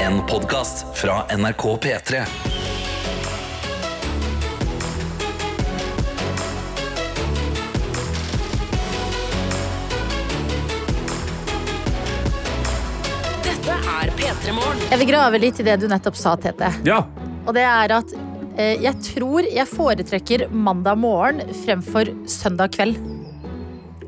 En podcast fra NRK P3 Dette er P3 Morgen. Jeg vil grave litt i det du nettopp sa, Tete. Ja. Og det er at eh, jeg tror jeg foretrekker mandag morgen fremfor søndag kveld.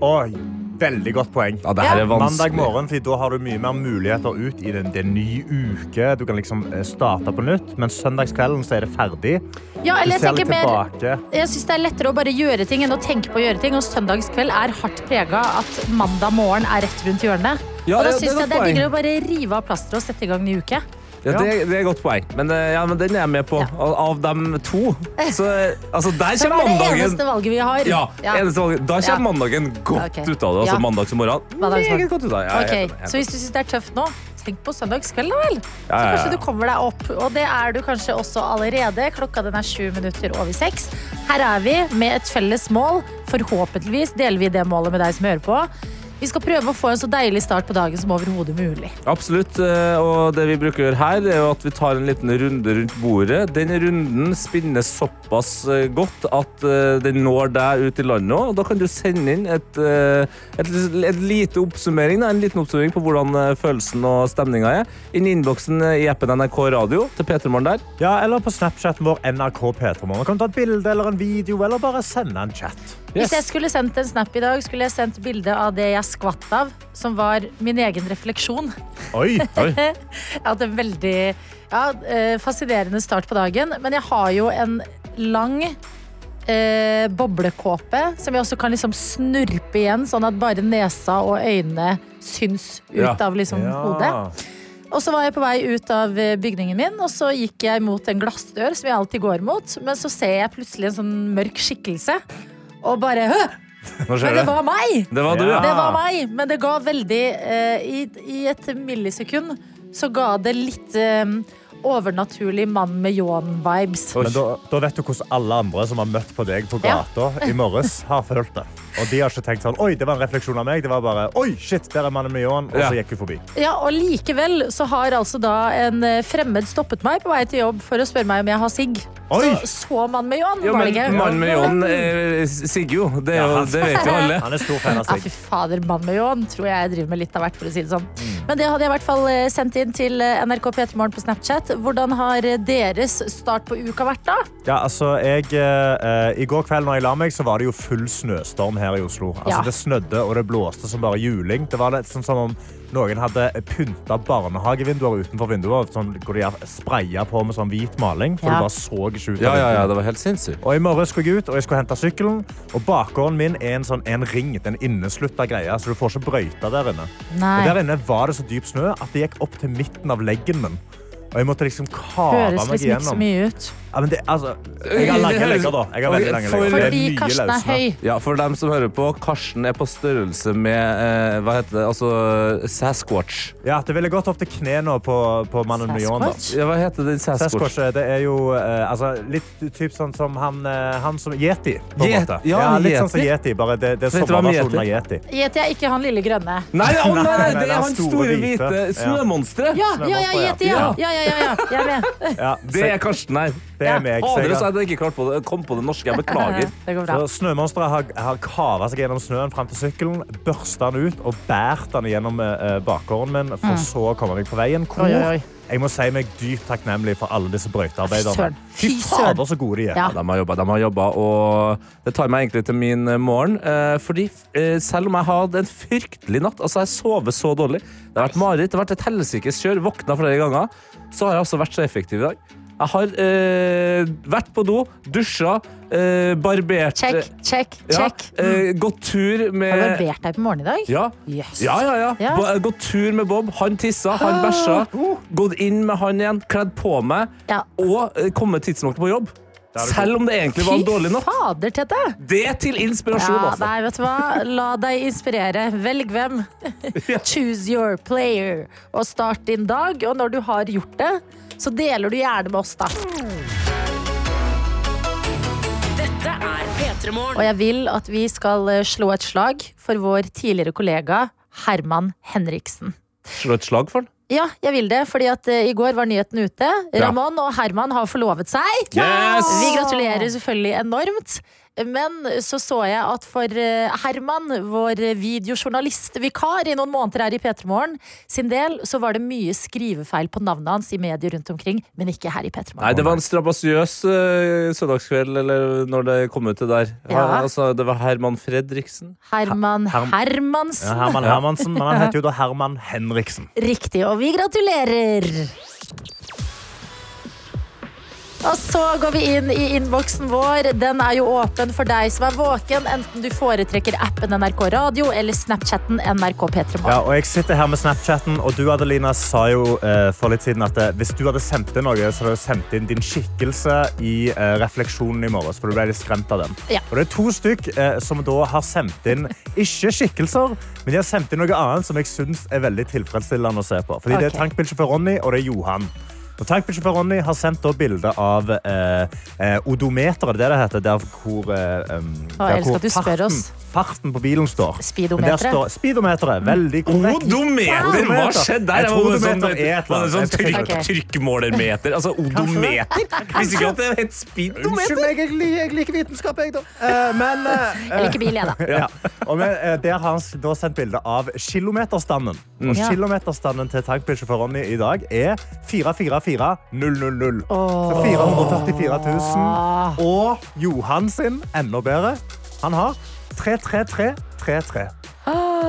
Oi, veldig godt poeng. ja, det her er Mandag vanskelig. morgen, fordi da har du mye mer muligheter ut i den. Det er en ny uke. Du kan liksom eh, starte på nytt, men søndagskvelden så er det ferdig. Ja, Du eller jeg ser litt tenker mer tilbake. Jeg syns det er lettere å bare gjøre ting enn å tenke på å gjøre ting. Og søndagskveld er hardt prega at mandag morgen er rett rundt hjørnet. Ja, og da ja, det er syns jeg godt det er poeng. diggere å bare rive av plasteret og sette i gang ny uke. Ja, det, det er et godt poeng. Men, eh, ja, men den er jeg med på. Av, av dem to. Så, eh, altså, der Så det er det kommer mandagen. eneste valget vi har. Ja, eneste valget. Da kommer Ja. mandagen Ok. godt ut av det. Altså Ja. mandagsmorgen. Mandagsmorgen. Meget godt ut av det. Ja, jeg er Ok, enig, jeg er Så hvis du syns det er tøft nå, tenk på søndagskveld, da vel. Så Ja, ja, ja. kanskje du kommer deg opp. Og det er du kanskje også allerede. Klokka den er sju minutter over seks. Her er vi med et felles mål. Forhåpentligvis deler vi det målet med deg som hører på. Vi skal prøve å få en så deilig start på dagen som overhodet mulig. Absolutt. eh, Og det vi bruker å gjøre her, er jo at vi tar en liten runde rundt bordet. Den runden spinnes såpass eh, godt at eh, den når deg ut i landet òg. Da kan du sende inn et, eh, et, et lite oppsummering, da, en liten oppsummering på hvordan eh, følelsen og stemninga er. Inn i innboksen eh, i appen NRK Radio til P3morgen der. Ja, eller på Snapchaten vår NRK P3morgen. Kan du ta et bilde eller en video, eller bare sende en chat. Yes. Hvis jeg skulle sendt en snap i dag, skulle jeg sendt bilde av det jeg skvatt av, som var min egen refleksjon. Oi, Jeg har hatt en veldig ja, eh, fascinerende start på dagen, men jeg har jo en lang eh, boblekåpe som jeg også kan liksom snurpe igjen, sånn at bare nesa og øynene syns ut Ja. av liksom, hodet. Ja. Og så var jeg på vei ut av eh, bygningen min, og så gikk jeg mot en glassdør, som jeg alltid går mot, men så ser jeg plutselig en sånn mørk skikkelse, og bare Hø! Nå Men skjer det det. var meg! Det var du, ja. Det Ah. var meg, men det ga veldig eh, i, I et millisekund så ga det litt eh, overnaturlig mann med ljåen-vibes. Oi. Men da, da vet du hvordan alle andre som har møtt på deg på Ja. gata i morges, har følt det. Og de har ikke tenkt sånn Oi, det var en refleksjon av meg. Det var bare Oi, shit, der er mannen med ljåen. Og Ja. så gikk hun forbi. Ja, og likevel så har altså da en eh, fremmed stoppet meg på vei til jobb for å spørre meg om jeg har sigg. Så Oi! så mann med ljåen, Ja, var det men ikke? Mannen med John eh, sigger jo. Det, er jo- det vet jo alle. Han er stor fan av Ja, seg. fy fader, mann med ljåen tror jeg driver med litt av hvert, for å si det sånn. Men det hadde jeg i hvert fall eh, sendt inn til eh, NRK P3morgen på Snapchat. Hvordan har eh, deres start på uka vært, da? Ja, altså, jeg, eh, I går kveld når jeg la meg, så var det jo full snøstorm her i Oslo. Altså, Ja. Det snødde og det blåste som bare juling. Det var litt sånn som om noen hadde pynta barnehagevinduer utenfor vinduet, sånn, hvor de har spraya på med sånn hvit maling. For Ja. du bare så ikke ut av Ja, ja, vinduet. ja, det var helt sinnssykt. Og I morgen skulle jeg ut og jeg skulle hente sykkelen. Og Bakgården min er en, sånn, en ring. det er en inneslutta greie, så du får ikke brøyta der inne. Nei. Og Der inne var det så dyp snø at det gikk opp til midten av leggen min. Og jeg måtte liksom kave Høres meg liksom ikke så gjennom. mye ut. Ja, men det, altså, jeg har lange legger, da. Jeg har veldig lange For- legger. Det er Fordi mye Karsten er løssnø. høy. Ja, for dem som hører på, Karsten er på størrelse med eh, hva heter det, altså Sasquatch. Ja, det ville gått opp til kne nå på, på mannen med ljåen. da. Sasquatch? Ja, hva heter den Sasquatch? Sasquatch det er jo eh, altså, litt typ sånn som han, eh, han som Yeti, på en Yet- måte. ja, litt sånn som Yeti. Yeti, bare det, det er Vet du hva med sommerversjonen av Yeti. Gjeter jeg ikke han lille grønne? Nei, å, nei, nei, Nei, det er han store hvite snømonsteret! Ja, Snømann ja, ja, på, ja. gjeter, ja. ja, ja, ja, ja. Jeg er med. Ja, Det er Karsten her. Det er meg. så Fader, jeg altså, har- jeg hadde ikke klart på det. kom på det norske. Jeg beklager. Det går bra. Så Snømonsteret har, har kava seg gjennom snøen fram til sykkelen, børsta den ut og båret den gjennom eh, bakgården min, for så å komme meg på veien. Hvor Mm. Oi, oi, oi. jeg må si meg dypt takknemlig for alle disse brøytearbeiderne. Søren. Fy Fy søren. fader, så gode de er. Ja. Ja, de har jobba, de har jobba, og det tar meg egentlig til min eh, morgen. Eh, fordi eh, selv om jeg hadde en fryktelig natt, altså jeg sover så dårlig Det har vært mareritt, det har vært et helsikes kjør, våkna flere ganger. Så har jeg altså vært så effektiv i dag. Jeg har eh, vært på do, dusja, eh, barbert Check, check, Ja, check. eh, gått Har tur du med barbert deg på morgenen i dag? ja. Yes. Ja, ja, ja. Ja. Bo- Gått tur med Bob. Han tissa, han bæsja. Gått inn med han igjen, kledd på meg Ja. og eh, kommet tidsnok på jobb. Selv om det egentlig var en dårlig natt. fader, Tete! Det er til inspirasjon, Ja, altså. nei, vet du hva? La deg inspirere. Velg hvem. Choose your player. Og start din dag. Og når du har gjort det, så deler du gjerne med oss, da. Dette er P3 Og Morgen. jeg vil at vi skal eh, slå et slag for vår tidligere kollega Herman Henriksen. Slå et slag for den. Ja, jeg vil det, fordi at eh, i går var nyheten ute. Ja. Ramón og Herman har forlovet seg. Yes! Vi gratulerer selvfølgelig enormt. Men så så jeg at for eh, Herman, vår videojournalistvikar i noen måneder her i P3 Morgen, sin del, så var det mye skrivefeil på navnet hans i medier rundt omkring, men ikke her i P3 Nei, Morgen. det var en strabasiøs eh, søndagskveld eller når det kom ut det der. Ja. Altså, det var Herman Fredriksen. Herman Herm- Hermansen. Ja, Herman Hermansen, men han heter jo da Herman Henriksen. Riktig, og vi gratulerer! Og så går vi inn i innboksen vår. Den er jo åpen for deg som er våken, enten du foretrekker appen NRK Radio eller Snapchatten NRK P3morgen. Ja, og jeg sitter her med Snapchatten, og du Adelina sa jo eh, for litt siden at eh, hvis du hadde sendt inn noe, så hadde du sendt inn din skikkelse i eh, refleksjonen i morges, for du ble litt skremt av den. Ja. Og det er to stykk eh, som da har sendt inn, ikke skikkelser, men de har sendt inn noe annet som jeg synes er veldig tilfredsstillende å se på. Fordi det Ok. er tankbilsjåfør Ronny, og det er Johan. Og tankbilsjåfør Ronny har sendt da bilde av eh, eh, odometeret, det er det det heter, der hvor, eh, um, Å, jeg elsker der at hvor du spør farten, oss. farten på bilen står. Men der Speedometeret. står Speedometeret. Veldig korrekt. Odometer! Hva har skjedd der? Jeg Var tror det sånn, odometer er et eller var det annet. sånn Jeg skal tryk, finne ut. trykkmålermeter? Altså odometer? Visste ikke at det het Unnskyld speedometer. meg, jeg, li- jeg liker vitenskap, jeg, da. Eh, men eh, Jeg liker bil, jeg, da. ja. Og men, eh, Der har han s- da sendt bilde av kilometerstanden. Og Ja. kilometerstanden til tankbilsjåfør Ronny i dag er 444000. Åh. Ah. Så 444 000. Og Johan sin, enda bedre, han har 33333.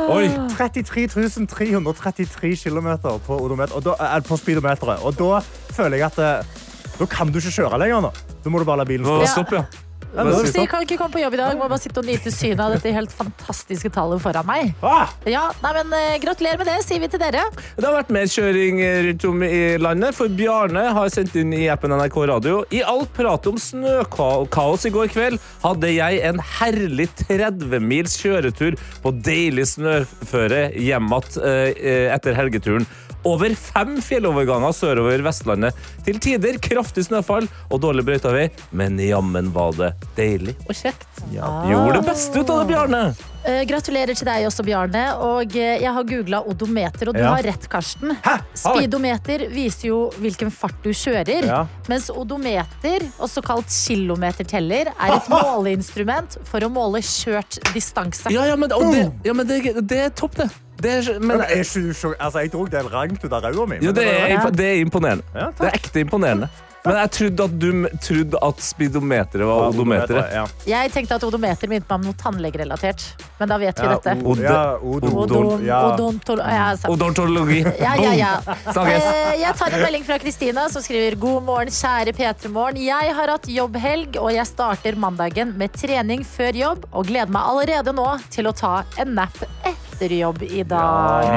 Oi. 33.333 kilometer på, odometer, og da, eh, på speedometeret. Og da føler jeg at eh, da kan du ikke kjøre lenger. nå. Da må du bare la bilen Nå, stå. Ja. Stopp, ja. Ja, Hva nå- sier Så jeg kan ikke komme på jobb i dag, må bare sitte og nyte synet av dette helt fantastiske tallet foran meg. Ah! Ja, nei, men eh, Gratulerer med det, sier vi til dere. Det har vært mer kjøring rundt om i landet, for Bjarne har sendt inn i appen NRK Radio. I alt pratet om snøkaos i går kveld hadde jeg en herlig 30 mils kjøretur på deilig snøføre hjem igjen eh, etter helgeturen. Over fem fjelloverganger sørover Vestlandet. Til tider kraftig snøfall og dårlig brøytavei, men jammen var det deilig og kjekt. Gjorde det beste ut av det, Bjarne. Eh, gratulerer til deg også, Bjarne. Og eh, jeg har googla odometer, og du Ja. har rett, Karsten. Har jeg? Speedometer viser jo hvilken fart du kjører. Ja. Mens odometer, også kalt kilometerteller, er et måleinstrument for å måle kjørt distanse. Ja, ja, men, og det, ja, men det, det er topp, det. det er, Mm. men, Men er ikke du så- altså, jeg dro del rangt ut av ræva mi. Jo, men det er, Ja. impo- det er imponerende. Ja, takk. det er ekte imponerende. Men jeg trodde at, du, m- trodde at speedometeret var var- odometeret. Ja. Jeg tenkte at odometer minte meg om noe tannlegerelatert, men da vet vi Ja, dette. o- ja, odon. Odon, Ja. odontol... Ja, sant. Odontologi. Ja, ja, ja. Snakkes. Eh, Jeg tar en melding fra Kristina som skriver God morgen, kjære P3morgen. Jeg har hatt jobbhelg, og jeg starter mandagen med trening før jobb og gleder meg allerede nå til å ta en nap etter jobb i dag.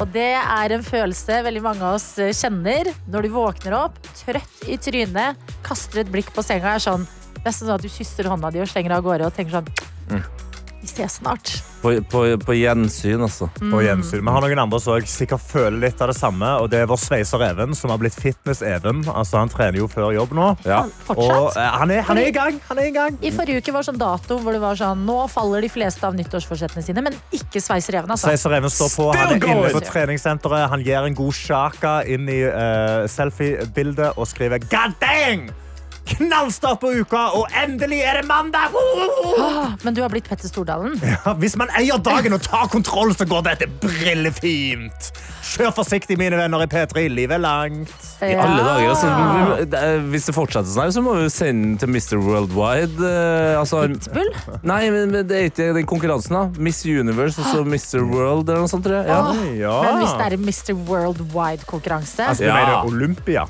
Og det er en følelse veldig mange av oss eh, kjenner når du våkner opp, trøtt i trynet, kaster et blikk på senga og er sånn Nesten sånn at du kysser hånda di og slenger av gårde og tenker sånn Vi ses snart. På, på, på gjensyn, altså. På gjensyn. Vi har noen andre som også sikkert føler litt av det samme. Og det er vår sveiser Even, som har blitt Fitness-Even. Altså, han trener jo før jobb nå. Ja. Fortsatt. Og eh, han er, han er i gang! Han er i gang. I forrige uke var sånn dato hvor det var sånn Nå faller de fleste av nyttårsforsettene sine, men ikke sveisereven, altså. Sveiser Even står på. Han er Still inne på going! treningssenteret. Han gir en god sjaka inn i eh, selfie-bildet og skriver God dang! Knallstart på uka, og endelig er det mandag! Woo! Men du har blitt Petter Stordalen. Ja, Hvis man eier dagen og tar kontroll, så går dette brillefint. Kjør forsiktig, mine venner i P3. Livet er langt. I alle dager. Altså, vi- det er- hvis det fortsetter sånn, her, så må vi jo sende den til Mr. Worldwide. eh, Altså, Bull? nei, men men det er ikke den konkurransen, da. Miss Universe og så Mr. World eller noe sånt, tror jeg. Ja. Ja. Men hvis det er en Mr. Worldwide-konkurranse Ah. Altså, du Ja. mener Olympia.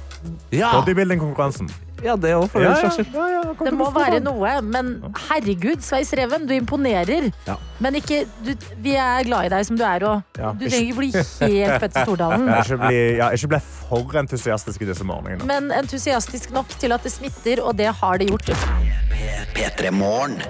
Ja. Bodybuilding-konkurransen. ja, det òg, for den saks skyld. ja, ja. Ah. Det må være noe, men herregud, Sveisereven, du imponerer. Ja. Men ikke du, Vi er glad i deg som du er, og Ja. du trenger ikke bli helt Petter Stordalen. Ja, Ikke bli, ja, ikke bli for entusiastisk i disse morgenene. Men entusiastisk nok til at det smitter, og det har det gjort. P3 Morgen.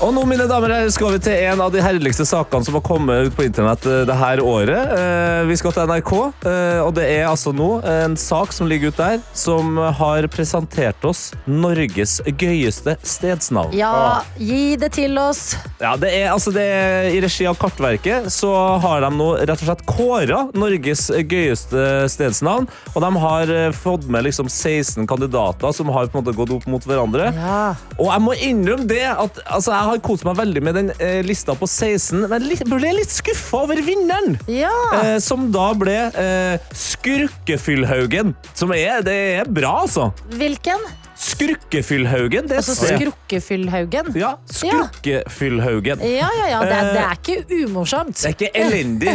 Og nå, mine damer og herrer, skal vi til en av de herligste sakene som har kommet ut på internett eh, det her året. Eh, Vi skal til NRK, eh, og det er altså nå en sak som ligger ute der, som har presentert oss Norges gøyeste stedsnavn. Ja, gi det til oss. Ja, det er, altså det er, I regi av Kartverket så har de nå rett og slett kåra Norges gøyeste stedsnavn. Og de har eh, fått med liksom 16 kandidater som har på en måte gått opp mot hverandre. Ja. Og jeg må innrømme det at altså, jeg har kost meg veldig med den eh, lista på 16, men litt, ble litt skuffa over vinneren. Ja. Eh, som da ble eh, Skurkefyllhaugen. Som er, det er bra, altså. Hvilken? Skurkefyllhaugen. Det er Altså sted. Skrukkefyllhaugen. Ja, Skurkefyllhaugen. Ja, ja, ja. Det er, det er Eh, ikke umorsomt. Det er ikke elendig.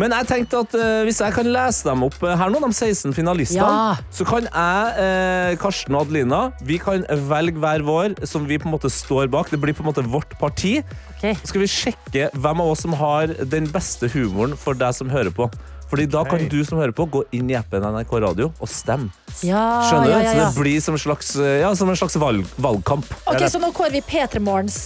Men jeg tenkte at eh, hvis jeg kan lese dem opp eh, her nå, de 16 finalistene, Ja. så kan jeg, eh, Karsten og Adelina, vi kan velge hver vår som vi på en måte står bak. Det blir på en måte vårt parti. Ok. Så skal vi sjekke hvem av oss som har den beste humoren for deg som hører på. Fordi da kan Hei. du som hører på, gå inn i appen NRK Radio og stemme. Ja, Skjønner du? Ah, ja, ja, ja. Så det blir som en slags, eh, ja, som en slags valg, valgkamp. Ok, Så nå kårer vi P3 Morgens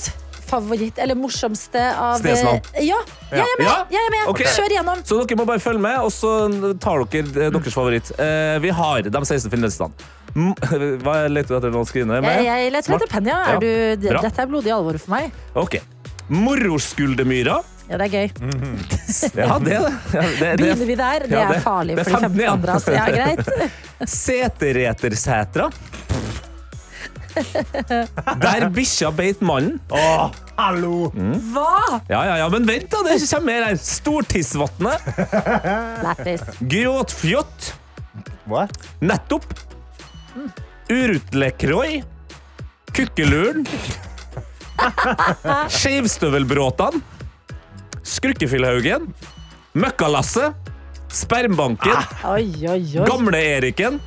favoritt, eller morsomste av eh, Stedsnavn. Ja, jeg er med! Ja. Jeg er med. Ok. Kjør gjennom. Så dere må bare følge med, og så tar dere eh, deres favoritt. Eh, vi har de 16 finalistene. M- Hva leter du etter nå, Skrine? Jeg, jeg leter Smart. etter Penja. Ja. Er du, Bra. dette er blodig alvor for meg. Ok. Moroskuldemyra. Ja, det er gøy. Ja, det er det. Ja, det, Mm. det. Begynner vi der? Det Ja, er det- farlig det er for de 15, 15 ja. andre. ass. Ja, greit. Seteretersetra. Der bikkja beit mannen. Åh, hallo! Hva? Ja, ja, ja, men vent, da. Det kommer mer her. Stortissvatnet. Lættis. Gråtfjott. What? Nettopp. Urutlekrøy. Kukkeluren. Skjevstøvelbråtene. Skrukkefyllhaugen. Møkkalasset. Spermbanken. Oi, oi, Ah, oi. Gamle-Eriken.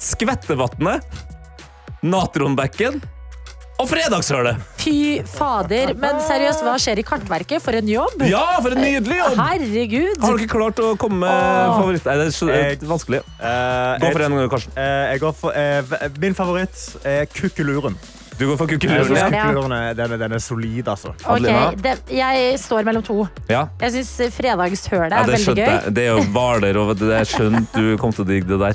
Skvettevatnet. Natronbekken. Og Fredagshølet. Fy fader. Men seriøst, hva skjer i Kartverket? For en jobb! Ja, for en nydelig jobb! Har Herregud. dere klart å komme med Åh. favoritt... Nei, det er så- det Jeg- er vanskelig. Eh, Gå for jeg- en, Karsten. eh, jeg går for, eh, v- min favoritt er kukkeluren. Du går for Jeg synes kukkeluren. ja. kukkeluren er, den, er- den er solid, altså. Ok, Adelina? det, jeg står mellom to. Ja. Jeg syns fredagshølet Ja, er det veldig skjønte gøy. jeg. Det er jo Hvaler og det er skjønt du kom til å digge det der.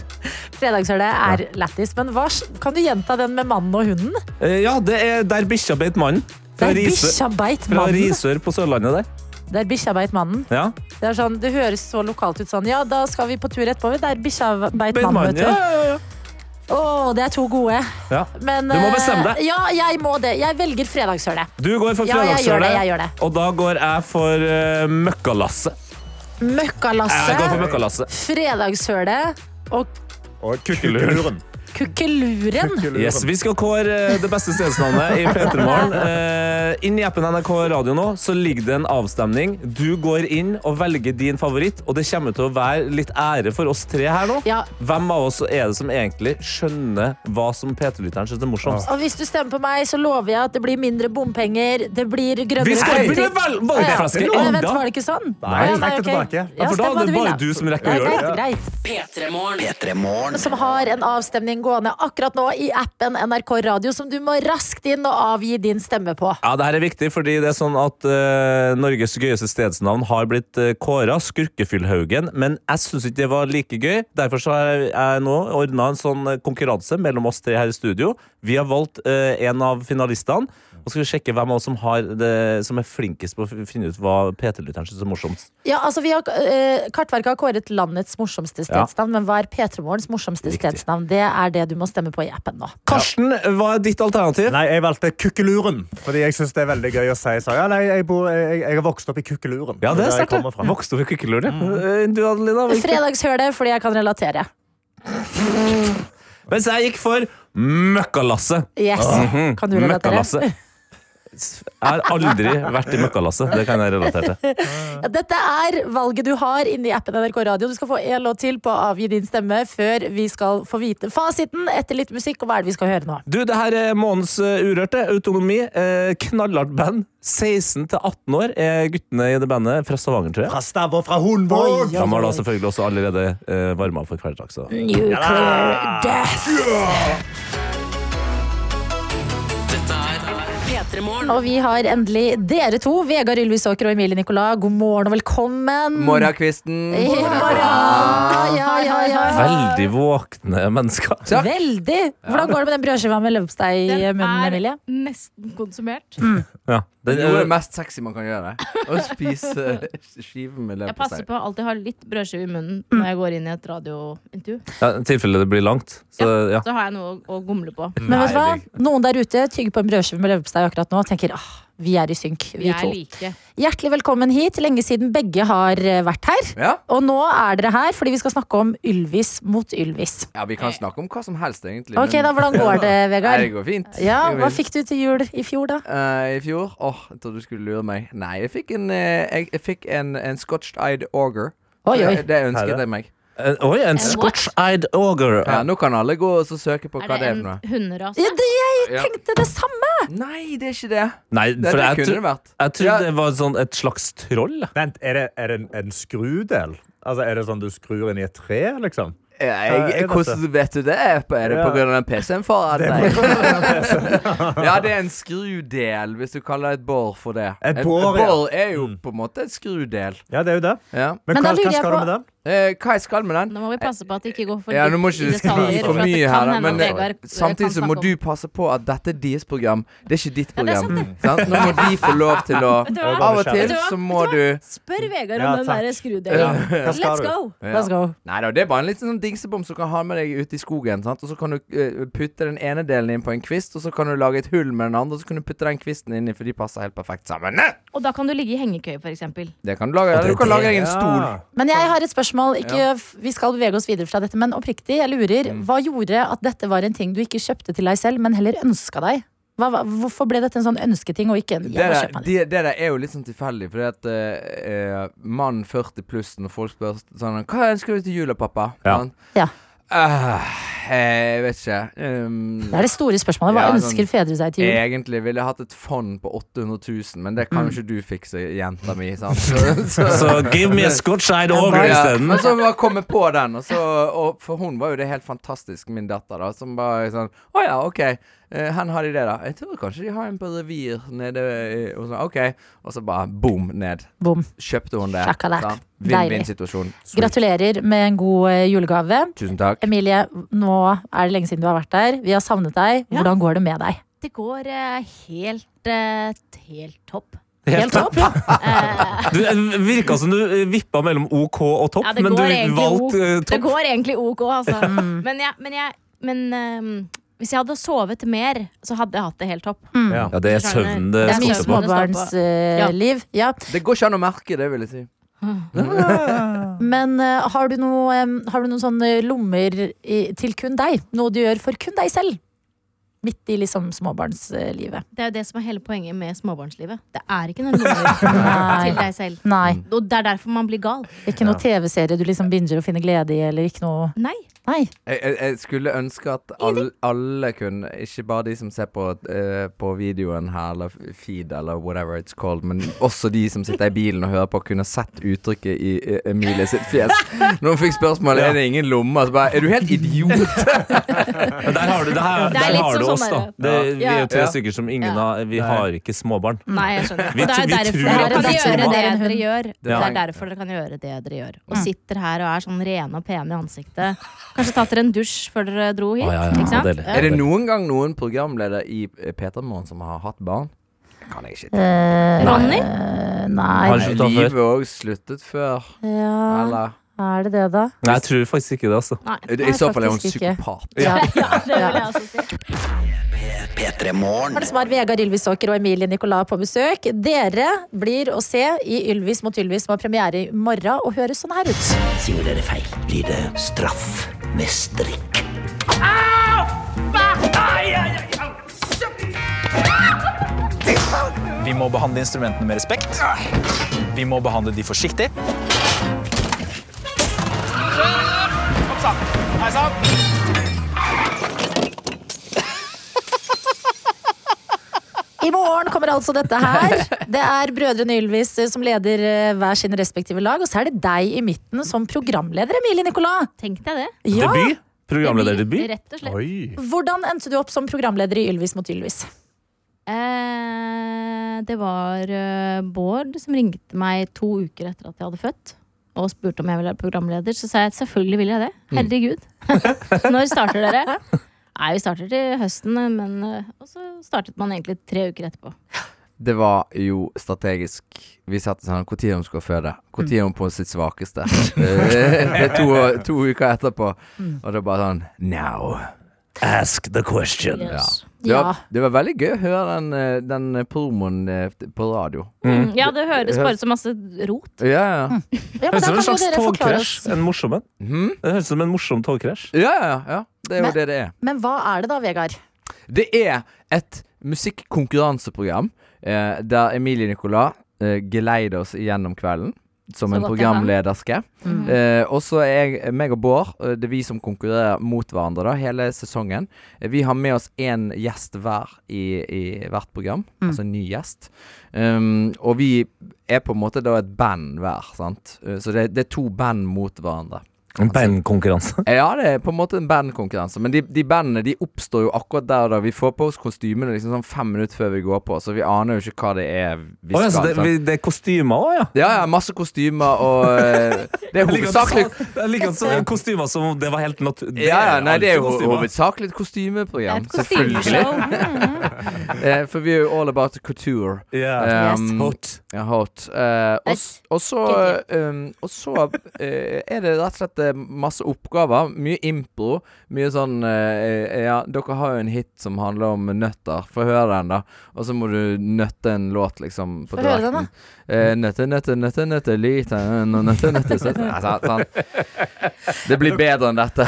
Fredagshølet er lættis. Men hva, kan du gjenta den med mannen og hunden? Eh, Ja, det er der bikkja beit mannen. Fra, Der Risør, bikkja beit fra mannen. Risør på Sørlandet der. Der bikkja beit mannen. Ja. Det, er sånn, det høres så lokalt ut sånn. Ja, da skal vi på tur etterpå. Der bikkja beit Beit mannen, vet mannen. Ja, du. ja, ja, Å, det er to gode. ja. Men, Du må eh, bestemme deg. Ja, jeg må det. Jeg velger fredagshølet. Du går for Ja, jeg gjør det, jeg gjør fredagssølet, det. og da går jeg for uh, møkkalasset. Jeg går for Møkkalasset, møkkalasset. fredagshølet og Og kukkeluren. kukkeluren. Yes, Vi skal kåre eh, det beste stedsnavnet i P3 Morgen. Eh, inn i appen NRK Radio nå så ligger det en avstemning. Du går inn og velger din favoritt, og det kommer til å være litt ære for oss tre her nå. Ja. Hvem av oss er det som egentlig skjønner hva som P3-lytteren syns er morsomst? Og hvis du stemmer på meg, så lover jeg at det blir mindre bompenger. Det blir grønnere Vi skal politikk. bli vel- Å, valgflaske ja. Nei, Vent, enda. var det ikke sånn? Nei, Å, ja, trekk ok. det tilbake. Ja, for da stem hva er det vil, bare da. du som rekker å Nei, gjøre greit, greit. P3-morgen. Som har en avstemning gående akkurat nå i appen NRK Radio, som du må raskt inn og avgi din stemme på. Ja, det her er viktig, fordi det er sånn at eh, Norges gøyeste stedsnavn har blitt uh, kåra Skurkefyllhaugen, men jeg syns ikke det var like gøy. Derfor så har jeg nå ordna en sånn eh, konkurranse mellom oss tre her i studio. Vi har valgt eh, en av finalistene, og skal vi sjekke hvem av oss som, har det, som er flinkest på å f- finne ut hva PT-lytteren syns er morsomst. Ja, altså vi har, eh, Kartverket har kåret landets morsomste Ja. stedsnavn, men hva er P3 Morgens morsomste Riktig. stedsnavn? Det er det du må stemme på i appen nå. Karsten, hva er ditt alternativ? Nei, jeg valgte kukkeluren, fordi jeg syns det er veldig gøy å si. Så, ja, nei, jeg, bor, jeg, jeg har vokst opp i kukkeluren. Ja, det er Der jeg sterkt. kommer det. fra. Vokste opp i kukkeluret. Eh, Du, Adelina? hvilken- Fredagshølet, fordi jeg kan relatere. Mens jeg gikk for Møkkalasset. Yes, kan du relatere? Mhm. Møkkalasset. Hmm, Jeg har aldri vært i møkkalasset. Det kan jeg relatere til. Ja, Dette er valget du har inni appen NRK Radio. Du skal få en låt til på å avgi din stemme før vi skal få vite fasiten etter litt musikk. Og hva er det vi skal høre nå? Du, det her er månedens eh, Urørte. Autonomi. Eh, knallhardt band. 16 til 18 år er guttene i det bandet fra Stavanger, tror jeg. Fra Stavå, fra Hundvåg. De har da selvfølgelig også allerede eh, varma opp for hverdag, så Ah. Nuclear death. Dette er P3 P3 Morgen. Og vi har endelig dere to, Vegard Ylvisåker og Emilie Nicolas. God morgen og velkommen. Morgenkvisten. Ja, ja, ja, ja, ja. Veldig våkne mennesker. Takk. Veldig. Hvordan går det med den brødskiva med leverpostei i Den munnen, er Emilie? nesten konsumert. Mm. Ja. Den, Det er jo det er- mest sexy man kan gjøre. Å spise skive med Jeg passer leverpostei. på å alltid ha litt brødskive i munnen Mm. når jeg går inn i et radiointervju. ja, I tilfelle det blir langt. Så ja. Så har jeg noe å, å gomle på. Men vet du hva? Nei, Noen der ute tygger på en brødskive med leverpostei akkurat nå og tenker ah, vi er i synk, Vi vi er to. like. Hjertelig velkommen hit. Lenge siden begge har eh, vært her. Ja? Og nå er dere her fordi vi skal snakke om Ylvis mot Ylvis. ja, vi kan snakke om hva som helst, egentlig. Ok, men- da, Hvordan går det, Nei, det Vegard? går fint. Ja, Det går Hva fint. fikk du til jul i fjor, da? Eh, I fjor? Åh, jeg trodde du skulle lure meg. Nei, jeg fikk en, eh, jeg, jeg fikk en, en scotched-eyed auger. Oi, oi. Det, det ønsket Herre. jeg meg. En- Eh, Oi, en scotch-eyed auger. Ja, nå kan alle gå og så søke på Er hva det det er en for noe. hunderase? Ja, det, jeg Ja. tenkte det samme! Nei, det er ikke det. Nei, Det, for det jeg, kunne det tro, vært. jeg Ja. trodde det var sånn et slags troll. Vent, er det, er det en, en skrudel? Altså, er det sånn du skrur inn i et tre, liksom? Eh, Jeg, jeg vet hvordan vet du det? Er på- er det Ja. pga. den PC-en, far? ja, det er en skrudel, hvis du kaller et bor for det. Et En- bor, et ja. Mm. bor er jo på en måte et skrudel. Ja, det er jo det. Ja. Men, Men da hva, lurer hva jeg skal på- du med den? Eh, hva jeg skal med den? Nå må vi passe på at det ikke går for Ja, nå må dypt ikke i det skli detaljer, for at det mye kan her, da, hende men at Vegard, eh, samtidig kan så må snakke om- du passe på at dette er deres program. Det er ikke ditt Ja, det er program. sant? Nå må de få lov til å Vet du Ja, hva? Av og Vet til du hva? så må du Spør Vegard Ja, om den takk. der skrudelen. Hva skal Let's du? go! ja. Let's go. Nei da, det er bare en liten sånn dingsebom som kan ha med deg ute i skogen. Sant? Og så kan du eh, putte den ene delen inn på en kvist, og så kan du lage et hull med den andre, og så kan du putte den kvisten inni, for de passer helt perfekt sammen. Og da kan du ligge i hengekøye, for eksempel. Det kan du lage. Eller du kan lage deg en stol. Ja. Men jeg har et spørsmål. Ikke, Vi skal bevege oss videre fra dette, men oppriktig, jeg lurer. Hva gjorde at dette var en ting du ikke kjøpte til deg selv, men heller ønska deg? Hva, hva- hvorfor ble dette en sånn ønsketing og ikke en Det jeg må der, kjøpe meg det? det, det der er jo litt sånn tilfeldig, fordi at eh, eh, mann 40 pluss, når folk spør sånn 'Hva ønsker du til jul, da, pappa?' Ja. Sånn, Ja. «Øh, jeg vet ikke. Um, Det er det store spørsmålet. Hva Ja, sånn- ønsker fedre seg til jul? egentlig ville jeg hatt et fond på 800 000, men det kan Mm. jo ikke du fikse, jenta mi. Sant? Så, så, Så give me a scotch-eyed auger ja. isteden. Men så bare komme på den, og så og For hun var jo det helt fantastisk, min datter, da, som bare sånn Å ja, OK. eh, Hvor har de det, da? Jeg tror kanskje de har en på revir nede eh, og sånn, OK. Og så bare boom, ned. Bom. kjøpte hun det. Sjakalakk. sant? Deilig. Vinn-vinn-situasjon. Gratulerer med en god eh, julegave. Tusen takk. Emilie, nå er det lenge siden du har vært der. Vi har savnet deg. Ja. Hvordan går det med deg? Det går eh, helt, eh, helt topp. Helt topp? Eh, Du det virka som du vippa mellom OK og topp, Ja, det men du går egentlig valgte eh, Det topp. går egentlig ok, altså. Mm. Men, jeg, men, jeg, men ehm, hvis jeg hadde sovet mer, så hadde jeg hatt det helt topp. Mm. Ja. Ja, det er søvnen det søvnen det Det er mye står på. Ja. småbarnsliv. ja. Det går ikke an å merke det, vil jeg si. Men eh, har, du noe, eh, har du noen sånne lommer i, til kun deg? Noe du gjør for kun deg selv? Midt i liksom småbarnslivet. Det er jo det som er hele poenget med småbarnslivet. Det er ikke noen lommer Nei. til deg selv. Nei. Og det er derfor man blir gal. Ikke noe TV-serie du liksom binger og finner glede i, eller ikke noe Nei. Nei. Jeg, jeg, jeg skulle ønske at all, alle kunne, ikke bare de som ser på, eh, på videoen her, eller feed, eller whatever it's called, men også de som sitter i bilen og hører på, kunne sett uttrykket i eh, Emilie sitt fjes. Når hun fikk spørsmål er det ingen lommer, så bare Er du helt Men idiot? der har du, det her, Det er der litt har som du sånn oss, da. der- Det, vi er jo tre Ja. stykker som ingen Ja. har Vi har ikke småbarn. Nei, jeg skjønner. Vi- Og det er jo vi derfor tror dere at kan det er gjøre sånn. det dere gjør. Det Ja. er derfor dere kan gjøre det dere gjør. Og sitter her og er sånn rene og pene i ansiktet. Kanskje tatt dere en dusj før dere dro hit. Å, ja, ja, Ikke sant? deilig. Ja. Er det noen gang noen programleder i eh, P3 Morgen som har hatt barn? Kan jeg ikke. Eh, Ronny? eh, nei. Har du sluttet Livet før? òg sluttet før, Ja, eller? er det det, da? Nei, jeg tror faktisk ikke det, altså. Nei. I så fall er hun faktisk ikke. psykopat. Ja. Det vil jeg også si. P3 Morgen. Har det som er Vegard Ylvisåker og Emilie Nicolas på besøk. Dere blir å se i Ylvis mot Ylvis, som har premiere i morgen, og høres sånn her ut. Sier dere feil, blir det straff med strikk. Vi må behandle instrumentene med respekt. Vi må behandle de forsiktig. I morgen kommer altså dette her. Det er brødrene Ylvis eh, som leder eh, hver sine respektive lag, og så er det deg i midten som programleder, Emilie Nicolas. Tenk deg det. Ja. Debut? Programlederdebut? Rett og slett. Oi. Hvordan endte du opp som programleder i Ylvis mot Ylvis? Eh, det var eh, Bård som ringte meg to uker etter at jeg hadde født. Og spurte om jeg ville være programleder. Så sa jeg at selvfølgelig vil jeg det. Herregud. Når starter dere? Nei, vi starter til høsten, men eh, Og så startet man egentlig tre uker etterpå. Det var jo strategisk. Vi satt sånn Når hun skulle føde? Når er hun på sitt svakeste? Eh, to, to uker etterpå. Mm. Og det var bare sånn Now. Ask the question. Det Ja. var, det var veldig gøy å høre den, eh, den promoen eh, på radio. Mm. ja, det høres bare ut som masse rot. Ja, Mm. ja. Ja, men da Høres ut som en kan jo slags dere forklare oss. togkrasj. En morsom en. Mhm. Det høres ut som en morsom togkrasj. ja, ja, ja. Det er jo Men- det det er. Men hva er det da, Vegard? Det er et musikkonkurranseprogram eh, der Emilie Nicolas eh, geleider oss gjennom kvelden. Som Så en godt jeg kan. programlederske. Mhm. Eh, og så er jeg, meg og Bård, eh, det er vi som konkurrerer mot hverandre da, hele sesongen. Eh, Vi har med oss én gjest hver i, i hvert program, altså en ny gjest. Um, og vi er på en måte da et band hver, sant. Eh, Så det, det er to band mot hverandre. En bandkonkurranse. Ja, det er på en måte en bandkonkurranse. Men de, de bandene de oppstår jo akkurat der og da. Vi får på oss kostymene liksom sånn fem minutter før vi går på, så vi aner jo ikke hva det er vi Å, ja, så skal. det, sant? vi- det er kostymer òg, ja? Ja, ja, masse kostymer og eh, Jeg Det er liker at du hovedsakelig sa- jeg liker at du sa kostymer som om det var helt naturlig. ja, ja, nei, det er jo hovedsakelig et kostymeprogram. Et Selvfølgelig. kostymeshow. Eh, For vi er jo all about couture. Um, Hot. Ja, hot. Eh, og s- og så, um, og så eh, er det rett og slett eh, masse oppgaver. Mye impro. Mye sånn eh, Ja, dere har jo en hit som handler om nøtter. Få høre den, da. Og så må du nøtte en låt, liksom. På Få høre den, da. direkten. Eh, nøtte, nøtte, nøtte, nøtte, liten og nøtte, nøtte, søt. Nei, sant, sant. Det blir bedre enn dette.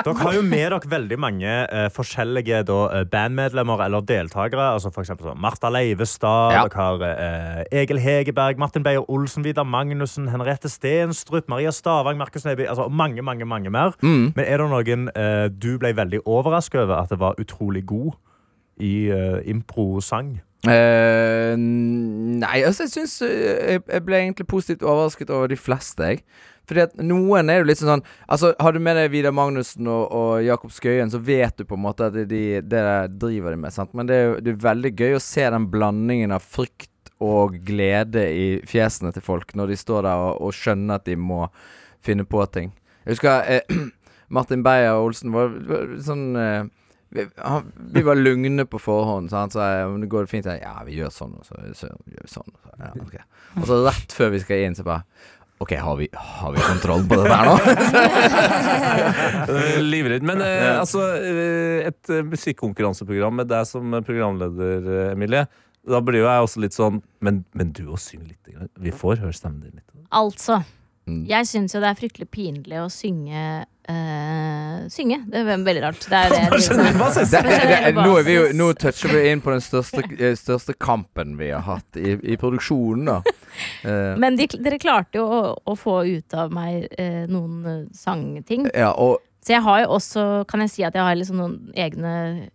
Dere har jo med dere veldig mange eh, forskjellige da, eh, bandmedlemmer eller deltakere. Altså for eksempel sånn Martha Leivestad, Ja. dere har eh, Egil Hegeberg, Martin Beyer Olsen, Vidar Magnussen, Henriette Stenstrup, Maria Stavang, Markus Neby altså og mange, mange, mange mer. Mm. Men er det noen eh, du ble veldig overrasket over at det var utrolig god i eh, impro-sang? Eh, nei, altså jeg syns jeg, jeg ble egentlig positivt overrasket over de fleste, jeg. Fordi at noen er jo litt sånn Altså, Har du med deg Vidar Magnussen og, og Jakob Skøyen, så vet du på en måte at det de, det der driver de med, sant. Men det er jo det er veldig gøy å se den blandingen av frykt og glede i fjesene til folk når de står der og, og skjønner at de må finne på ting. Jeg husker eh, Martin Beyer-Olsen var, var sånn eh, vi, han, vi var lugne på forhånd, så han sa om det går fint. Jeg, ja, vi gjør sånn, og så, så gjør vi sånn. Og så, ja, ok. og så rett før vi skal inn, så bare OK, har vi, har vi kontroll på dette her nå? Livredd. Men eh, altså, eh, et eh, musikkonkurranseprogram med deg som programleder, eh, Emilie, da blir jo jeg også litt sånn Men, men du òg synger litt. grann. Vi får høre stemmen din litt. Altså, Mm. jeg syns jo det er fryktelig pinlig å synge eh, Synge. Det er veldig rart. Det er det jeg driver med. Det, det, det, nå, er vi jo, basis. nå toucher vi inn på den største, eh, største kampen vi har hatt i, i produksjonen, da. Eh, Men de, dere klarte jo å, å få ut av meg eh, noen eh, sangting. ja, og Så jeg har jo også, kan jeg si at jeg har liksom noen egne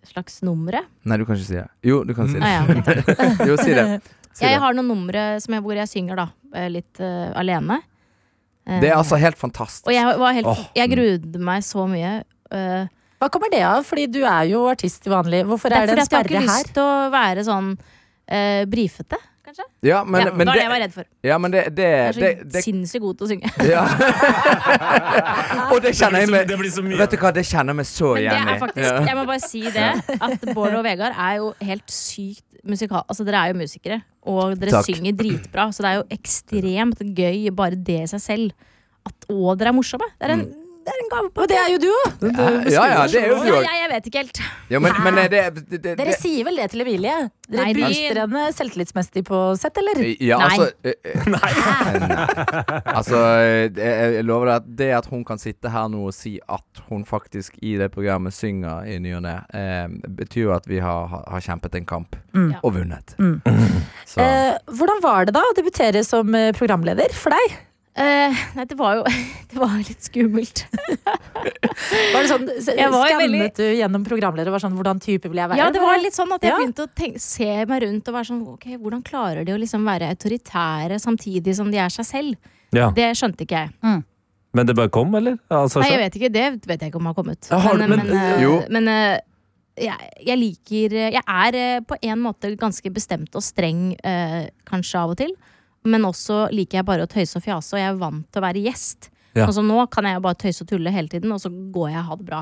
slags numre. Nei, du kan ikke si det. Jo, du kan si Ah, det. ja. ok. Jo, si det. Si Jeg det. har noen numre som jeg, hvor jeg synger da, eh, litt eh, alene. Eh, Det er altså helt fantastisk. Og jeg, var helt, Åh. jeg grudde meg så mye. eh, Hva kommer det av? Fordi du er jo artist til vanlig. Hvorfor det er er det en fordi at jeg har sperre ikke her? lyst til å være sånn eh, brifete, kanskje. Ja, men, ja, men det var det jeg det, var redd for. ja, men det, det, Jeg er så det, det sinnssykt god til å synge. Ja. og det kjenner jeg meg Det blir så mye. Vet du hva, det kjenner jeg meg så Men det igjen er i. faktisk, jeg må bare si det, at Bård og Vegard er jo helt sykt musikal... Altså, dere er jo musikere, og dere Takk. synger dritbra, så det er jo ekstremt gøy bare det i seg selv. At, og dere er morsomme. Det Mm. er en, det er en gave på Og det er jo du òg! Ja, ja, det er jo du Ja, òg. jeg, jeg vet ikke helt. Ja, men, men eh, det, det, det, Dere sier vel det til Emilie? Dere Nei, de- booster henne selvtillitsmessig på sett, eller? ja, Nei. altså, eh, eh, Nei. Altså, eh, jeg, jeg lover deg at det at hun kan sitte her nå og si at hun faktisk i det programmet synger i ny og ne, eh, betyr jo at vi har, har- har kjempet en kamp. Ja. Og vunnet. Mm. Så Eh, hvordan var det da å debutere som eh, programleder for deg? Eh, nei, det var jo det var litt skummelt. Var det sånn, s- Jeg var jo Skannet veldig- du gjennom programleder og var sånn hvordan type vil jeg være? Ja, det var litt sånn at jeg Ja. begynte å tenke, se meg rundt og være sånn Ok, hvordan klarer de å liksom være autoritære samtidig som de er seg selv? Ja. Det skjønte ikke jeg. Men det bare kom, eller? Altså, Nei, jeg vet ikke. Det vet jeg ikke om har kommet. Ja, har du- men, men- men, eh, Jo. men, eh, jeg, jeg liker Jeg er eh, på en måte ganske bestemt og streng, eh, kanskje av og til. Men også liker jeg bare å tøyse og fjase, og jeg er vant til å være gjest. Ja. Sånn som nå kan jeg jo bare tøyse og tulle hele tiden, og så går jeg og har det bra.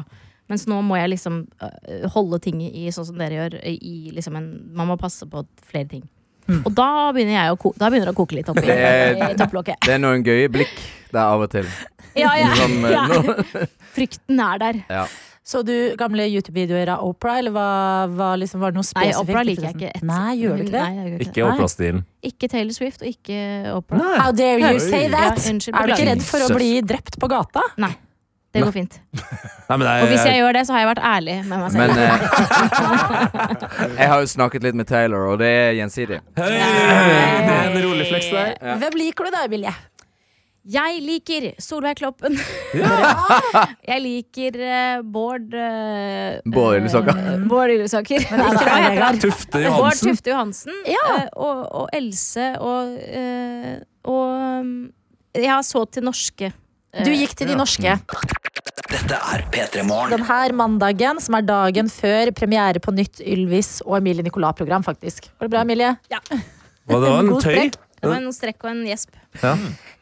Mens nå må jeg liksom eh, holde ting i sånn som dere gjør. I liksom en, man må passe på flere ting. Og da begynner jeg å ko da begynner det å koke litt oppi Mm. Det er- i topplokket. Det er noen gøye blikk der av og til. Ja, ja, Som, eh, ja. nå- Frykten er der. ja. Så du gamle YouTube-videoer av Opera, eller hva, hva liksom, var det noe Nei, spesifikt? Opera liker jeg ikke. ett- Nei, gjør du ikke det? Nei, jeg gjør ikke det? Ikke Opera-stilen. Ikke Taylor Swift og ikke Opera. How dare you say Oi. that? Ja, unnskyld, er du ikke beklager. redd for å bli drept på gata? Det går fint. Nei, men Og jeg, hvis jeg jeg, gjør det, så har jeg vært ærlig med meg selv. Men eh, jeg har jo snakket litt med Taylor, og det er gjensidig. Hei! Det er en rolig fleks der. Ja. Hvem liker du da, Emilie? Jeg liker Solveig Kloppen. jeg liker eh, Bård eh, Bård Ylvesåker. eh, Bård Ylvesaker. Tufte Bård Johansen. Tufte Johansen. eh, og, og Else og eh, Og um, jeg har så til norske. Eh, Du gikk til de norske. Dette er P3 Morgen. Den her mandagen, som er dagen før premiere på nytt Ylvis og Emilie Nicolas-program, faktisk. Går det bra, Emilie? Var det var en God tøy? strekk. Det var en strekk og en gjesp.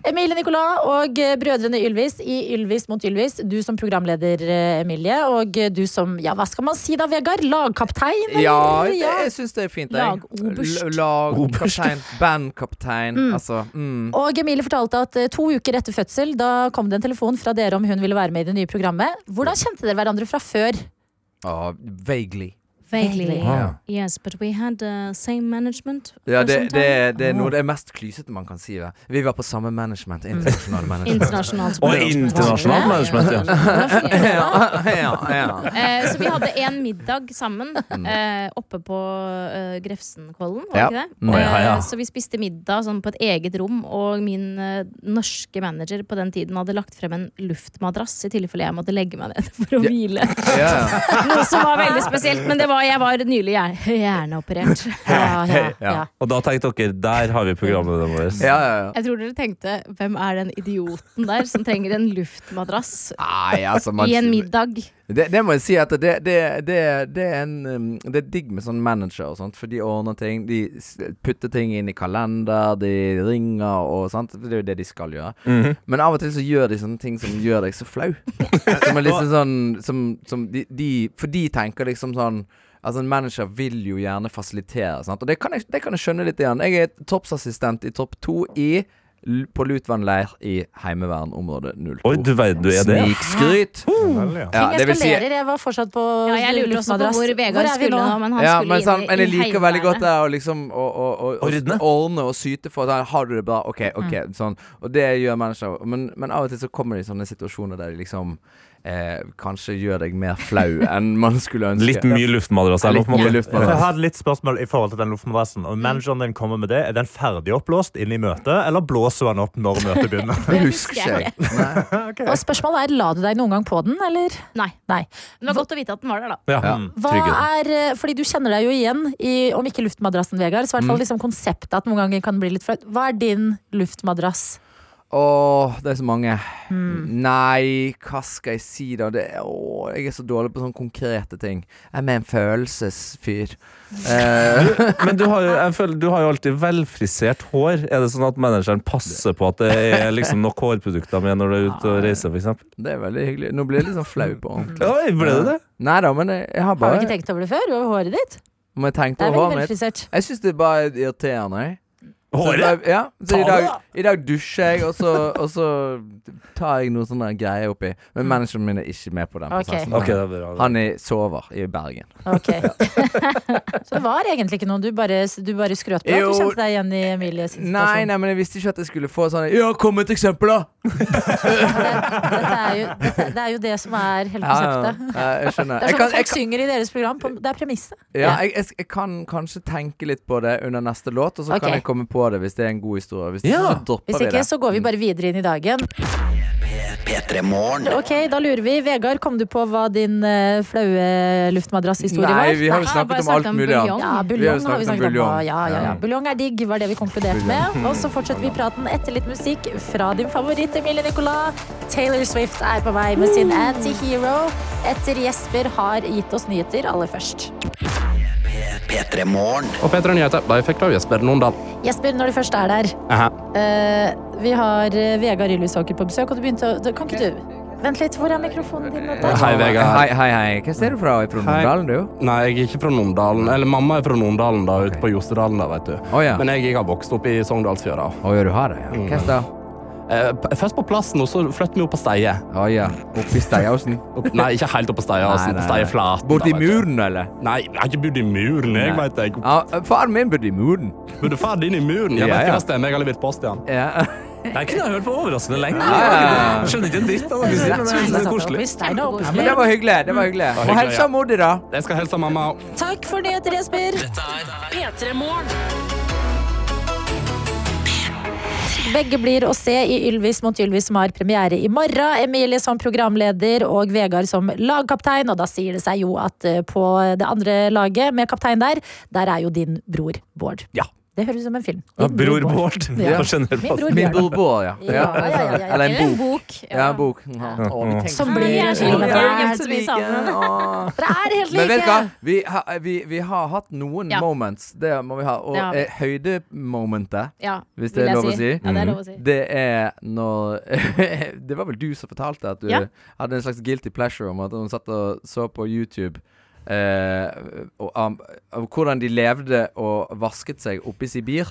Emilie Nicolas og eh, brødrene Ylvis i Ylvis mot Ylvis. Du som programleder, eh, Emilie, og eh, du som, ja, hva skal man si da, Vegard? Lagkaptein? eller? Ja, det, jeg syns det er fint. jeg. Lagoberst. L- Lagkaptein. Bandkaptein. Altså. Mm. Og Emilie fortalte at eh, to uker etter fødsel Da kom det en telefon fra dere om hun ville være med i det nye programmet. Hvordan kjente dere hverandre fra før? Ah, vaguely. Vaguely. Ah. Yes, but we had uh, same management. Ja, for some det, time. det, det er noe av det mest klysete man kan si. Det. Vi var på samme management. Internasjonale management. Internasjonalt. Og internasjonalt management, ja. ja. ja, ja, ja. Eh, så vi hadde en middag sammen eh, oppe på eh, Grefsenkollen, var det Ja. ikke det? Mm. Eh, Ja, ja. Så vi spiste middag sånn, på et eget rom, og min eh, norske manager på den tiden hadde lagt frem en luftmadrass i tilfelle jeg måtte legge meg ned for å hvile. ja, ja. Noe som var veldig spesielt, men det var, jeg var nylig hjerne, hjerneoperert. Ja, ja, ja. Og da tenkte dere der har vi programmet vårt. ja, ja, ja. Jeg tror dere tenkte hvem er den idioten der som trenger en luftmadrass Nei, altså man, i en middag? det, det må jeg si at det, det, det, det, er en, um, det er digg med sånn manager og sånt, for de ordner ting. De s- putter ting inn i kalender, de ringer og sånt. Det er jo det de skal gjøre. Mhm. Men av og til så gjør de sånne ting som gjør deg så flau. som er liksom sånn som, som de, de, For de tenker liksom sånn Altså En manager vil jo gjerne fasilitere, sant? og det kan jeg, det kan jeg skjønne litt. igjen Jeg er toppsassistent i topp to i L- på Lutvann leir i Heimevern område 02. Oi, du verden, du er det. Mm. ja. Snikskryt. Vel, ja. Ja, Ting det vil si- eskalerer. Jeg var fortsatt på Ja, jeg lurer også på luftmadrass. hvor Vegard er vi skulle nå? nå, men han ja, skulle men, sant, inn i men jeg liker veldig godt Heimevernet. det å liksom å, å, å, å Ordne. ordne og syte for sånn, Har du det bra? OK, Mm. ok, sånn. Og det gjør mennesker. Men, men av og til så kommer det i sånne situasjoner der de liksom eh, kanskje gjør deg mer flau enn man skulle ønske. Litt mye luftmadrass her nå, på Litt en mye måte. luft, man. Jeg hadde litt spørsmål i forhold til den luftmadrassen. Mm. Og manageren din kommer med det. Er den ferdig oppblåst inn i møtet, eller blåser han opp når møtet begynner? Det husker ikke jeg. Og spørsmålet er, la du deg noen gang på den, eller? Nei. Nei. Men Det var godt å vite at den var der, da. Ja. Ja. Mm. Hva Tryggheten. er, eh, fordi du kjenner deg jo igjen i, om ikke luftmadrassen, Vegard, så i hvert Mm. fall liksom konseptet at noen ganger kan bli litt flaut. Hva er din luftmadrass? Åh, det er så mange. Mm. Nei, hva skal jeg si da? Det, åh, jeg er så dårlig på sånne konkrete ting. Jeg er med en følelsesfyr. Eh, Men du har, jo, jeg føler, du har jo alltid velfrisert hår. Er det sånn at manageren passer på at det er liksom nok hårprodukter med når du er ute og reiser, f.eks.? det er veldig hyggelig. Nå blir jeg litt sånn flau på ordentlig. Oi, ble det det? Nei da, men jeg, jeg har Har du bare ikke tenkt over det før? Over håret ditt? Må jeg tenke Det er på veldig håret mitt? velfrisert. Jeg syns det er bare irriterende. jeg. Så Håret? da- Ja. Så i Ta det, dag, i dag dusjer jeg, og så, og så tar jeg noe sånn der greie oppi. Men manageren min er ikke med på den Mm. Ok. prosessen. Ok, det er bra. Han er sover i Bergen. Ok. Så det var egentlig ikke noe du bare, du bare skrøt på? at Jo. Du kjente deg igjen i Emilie sin Nei, situasjon? nei, men jeg visste ikke at jeg skulle få sånn Ja, kom med et eksempel, da! Dette er jo, dette, det er jo det som er hele Ja, ja, konseptet. ja, Det er jeg skjønner. Jeg sånn kan, at jeg folk kan, synger i deres program. På, det er premisset. ja, jeg, jeg, jeg kan kanskje tenke litt på det under neste låt, og så Ok. kan jeg komme på det Mm. hvis det er en god historie. Hvis Ja. ikke, så dropper Hvis vi ikke, det. så går vi bare videre inn i dagen. P3 Morgen. Ok, da lurer vi. Vegard, kom du på hva din eh, flaue luftmadrasshistorie Nei, var? vi har jo Nei, snakket bare om snakket alt om mulig annet. buljong. Ja, Vi har jo buljong har vi snakket om snakket om. buljong. Ja, ja, ja. Ja. Buljong er digg, var det vi konkluderte med. Og så fortsetter vi praten etter litt musikk fra din favoritt Emilie Nicolas. Taylor Swift er på vei med sin anti-hero etter Jesper har gitt oss nyheter aller først. P3 Morgen. Og Petra Nyheter, de fikk da Jesper Nondal. Jesper, når du først er der. Aha. eh, vi har eh, Vegard Ylvisåker på besøk, og du begynte å Kan ikke du Vent litt, hvor er mikrofonen din? nå? Hei, Vegard. Hei, hei, hei. Hva ser du fra fra Hei. Nordalen, du? Nei, jeg er ikke fra Nondalen. Eller mamma er fra Nondalen, da, ute på Jostedalen, da, vet du. Å, ja. Men jeg, jeg har vokst opp i Sogndalsfjøra. Å ja, du har det? ja. Hva er det? Eh, p- først på plassen, og så flytter vi opp på Steie. Å ja. Oppi Steiaosen? Opp- Nei, ikke helt opp på Steie, altså. Nei, nei, nei. Steieflaten. da, Borti vet du. muren, eller? Nei, jeg har ikke bodd i muren, jeg, Nei. vet jeg. Ja, faren min bodde i muren. Bodde far din i muren? Jeg Ja, vet ikke ja. hva stemmer, jeg har levert post til han. Ja. Jeg kunne ha hørt på overraskende lenge. ja, ja. Jeg skjønner ikke en dritt av det du sier, men det er litt koselig. Ja, men det var hyggelig. det var hyggelig. Og hyggelig, hilsa ja. mor di, da. Jeg skal hilse mamma. Takk for nyheter, Jesper. P3 Morgen. Begge blir å se i Ylvis mot Ylvis, som har premiere i morgen. Emilie som programleder og Vegard som lagkaptein. Og da sier det seg jo at eh, på det andre laget med kaptein der, der er jo din bror Bård. Ja. Det høres ut som en film. Ja, Din Bror Bård. Ja. På generell Min bror basis. Min Bjørn. billboard, ja. Ja, ja, ja, ja, ja. Eller Eller en en bok. bok. Ja, en bok. Som blir til Ja, med ja, ja. deg. helt like. Dere er helt Men vet du like! hva? Vi, har- vi, vi har hatt noen Ja. moments. Det må vi ha. Og Det har vi. eh, høydemomentet, Ja, hvis vil det er jeg lov å si, Mm. Ja, det er lov å si. det er når Det var vel du som fortalte at du Ja. hadde en slags guilty pleasure om at hun satt og så på YouTube eh, og, om- om hvordan de levde og vasket seg oppe i Sibir.